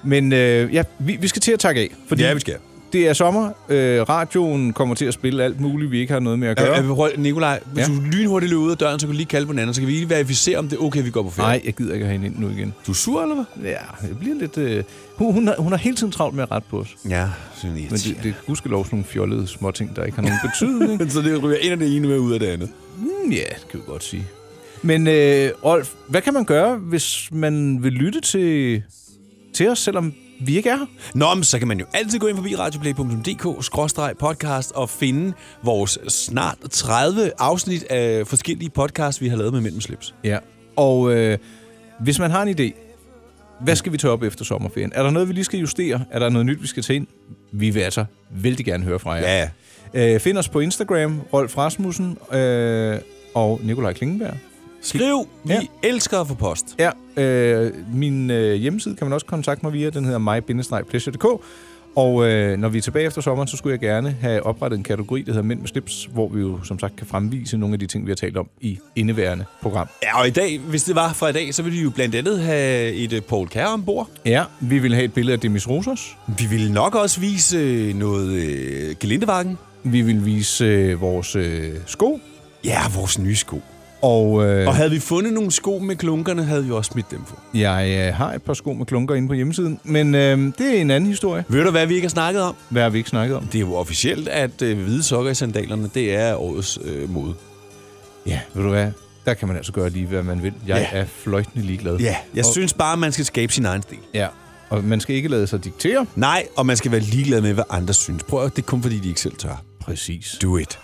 B: Men øh, ja, vi, vi skal til at takke af. Fordi
C: Ja, vi skal.
B: Det er sommer. Øh, radioen kommer til at spille alt muligt, vi ikke har noget med at gøre.
C: Ja, ja, Øh, prøv, Nikolaj, hvis
B: Ja.
C: ja. du lynhurtigt løber ud af døren, så kan du lige kalde på den anden, så kan vi lige verificere, om det er okay, vi går på ferie.
B: Nej, jeg gider ikke have hende ind nu igen.
C: Du er sur, eller hvad?
B: Ja, jeg bliver lidt... Øh, hun, hun, har, hun har hele tiden travlt med at rette på os.
C: Ja, sådan
B: Men det, det er gudskelov sådan nogle fjollede småting, der ikke har
C: [laughs]
B: nogen betydning.
C: så det ryger ind af det ene med ud af det andet.
B: Mm, ja, det kan vi godt sige. Men øh, Rolf, hvad kan man gøre, hvis man vil lytte til, til os, selvom vi ikke er her?
C: Nå, men så kan man jo altid gå ind forbi radioplay.dk-podcast og finde vores snart 30 afsnit af forskellige podcasts, vi har lavet med Mænd med slips.
B: Ja. Og øh, hvis man har en idé, hvad skal vi tage op efter sommerferien? Er der noget, vi lige skal justere? Er der noget nyt, vi skal tage ind? Vi vil altså vældig gerne høre fra jer.
C: Ja.
B: Øh, find os på Instagram, Rolf Rasmussen øh, og Nikolaj Klingenberg.
C: Skriv, vi ja. elsker at få post.
B: Ja, øh, min øh, hjemmeside kan man også kontakte mig via. Den hedder mig Og øh, når vi er tilbage efter sommeren, så skulle jeg gerne have oprettet en kategori, der hedder Mænd med slips, hvor vi jo som sagt kan fremvise nogle af de ting, vi har talt om i indeværende program.
C: Ja, og i dag, hvis det var fra i dag, så ville vi jo blandt andet have et øh, Paul Kær ombord.
B: Ja, vi vil have et billede af Demis Rosers.
C: Vi ville nok også vise øh, noget øh, gelindevakken.
B: Vi vil vise øh, vores øh, sko.
C: Ja, vores nye sko.
B: Og, øh,
C: Og havde vi fundet nogle sko med klunkerne, havde vi også smidt dem på.
B: jeg øh, har et par sko med klunker inde på hjemmesiden, men øh, det er en anden historie.
C: Ved du, hvad vi ikke har snakket om?
B: Hvad har vi ikke snakket om?
C: Det er jo officielt, at øh, hvide sokker i sandalerne, det er årets øh, mode.
B: Ja, ved du hvad? Der kan man altså gøre lige, hvad man vil. Jeg ja. er fløjtende ligeglad.
C: Ja, jeg
B: og,
C: synes bare, man skal skabe sin egen stil.
B: Ja, og man skal ikke lade sig diktere.
C: Nej, og man skal være ligeglad med, hvad andre synes. Prøv at det er kun fordi, de ikke selv tør.
B: Præcis.
C: Do it.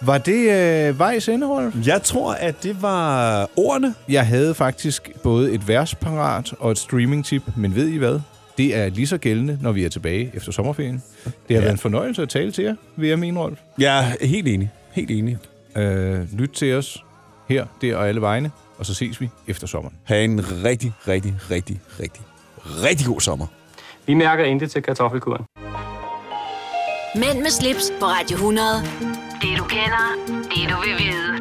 B: Var det øh, vejs indhold?
C: Jeg tror, at det var ordene.
B: Jeg havde faktisk både et vers parat og et streaming-tip, men ved I hvad? Det er lige så gældende, når vi er tilbage efter sommerferien. Det har ja. været en fornøjelse at tale til jer, vil jeg mene, Rolf.
C: Jeg er helt enig. Helt enig.
B: Øh, lyt til os her, der og alle vegne, og så ses vi efter sommeren.
C: Ha' en rigtig, rigtig, rigtig, rigtig, rigtig god sommer.
L: Vi mærker intet til kartoffelkuren.
A: Mænd med slips på Radio 100. Det du kender, det du vil vide.